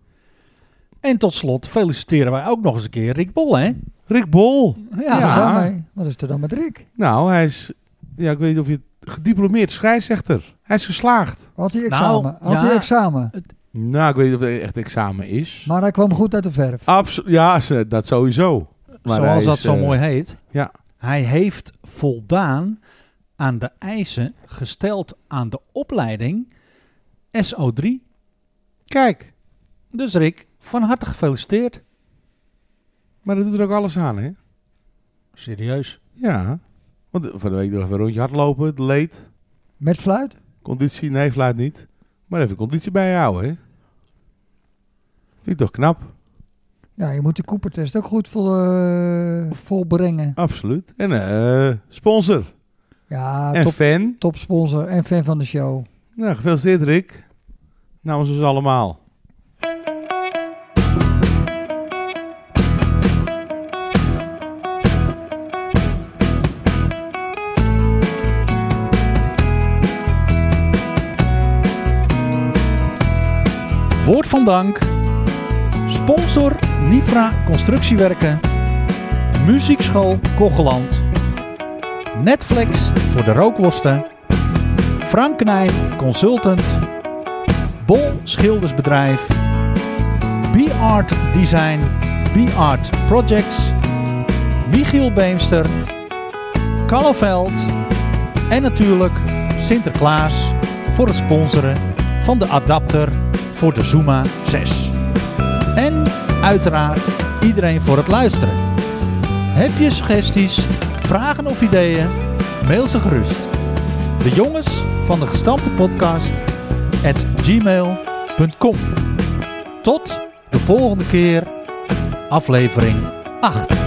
Speaker 1: En tot slot feliciteren wij ook nog eens een keer Rick Bol, hè?
Speaker 5: Rick Bol.
Speaker 4: Ja.
Speaker 5: Ja.
Speaker 4: daarmee. Wat is er dan met Rick?
Speaker 5: Nou, hij is... Ja, ik weet niet of je het... Gediplomeerd scheidsrechter. Hij is geslaagd.
Speaker 4: Had hij
Speaker 1: Nou,
Speaker 4: examen? Had hij
Speaker 1: ja.
Speaker 4: examen?
Speaker 5: Nou, ik weet niet of het echt examen is.
Speaker 4: Maar hij kwam goed uit de verf.
Speaker 5: Absoluut. Ja, ze- dat sowieso. Maar hij
Speaker 1: Zoals
Speaker 5: is,
Speaker 1: dat zo
Speaker 5: eh,
Speaker 1: mooi heet.
Speaker 5: ja.
Speaker 1: Hij heeft voldaan aan de eisen gesteld aan de opleiding SO3.
Speaker 5: Kijk,
Speaker 1: Dus Rick, van harte gefeliciteerd.
Speaker 5: maar dat doet er ook alles aan, hè?
Speaker 1: Serieus.
Speaker 5: Ja. Want eh, van de week nog even een rondje hardlopen. Het leed.
Speaker 4: Met fluit?
Speaker 5: Conditie, nee, laat niet. Maar even conditie bijhouden, hè? Vind ik toch knap?
Speaker 4: Ja, je moet de Coopertest ook goed vol, eh, volbrengen.
Speaker 5: Absoluut. En eh, sponsor.
Speaker 4: Ja,
Speaker 5: en
Speaker 4: top,
Speaker 5: fan.
Speaker 4: topsponsor en fan van de show.
Speaker 5: Nou, gefeliciteerd, Rick. Namens ons allemaal.
Speaker 1: Woord van dank. Sponsor Nifra Constructiewerken. Muziekschool Kocheland. Netflix voor de rookworsten. Frank Knijn Consultant. Bol Schildersbedrijf. B-Art Design. B-Art Projects. Michiel Beemster. Kalveld. En natuurlijk Sinterklaas voor het sponsoren van de adapter voor de Zuma 6. En uiteraard iedereen voor het luisteren. Heb je suggesties, vragen of ideeën? Mail ze gerust. De jongens van de gestampte podcast at gmail.com. Tot de volgende keer, aflevering 8.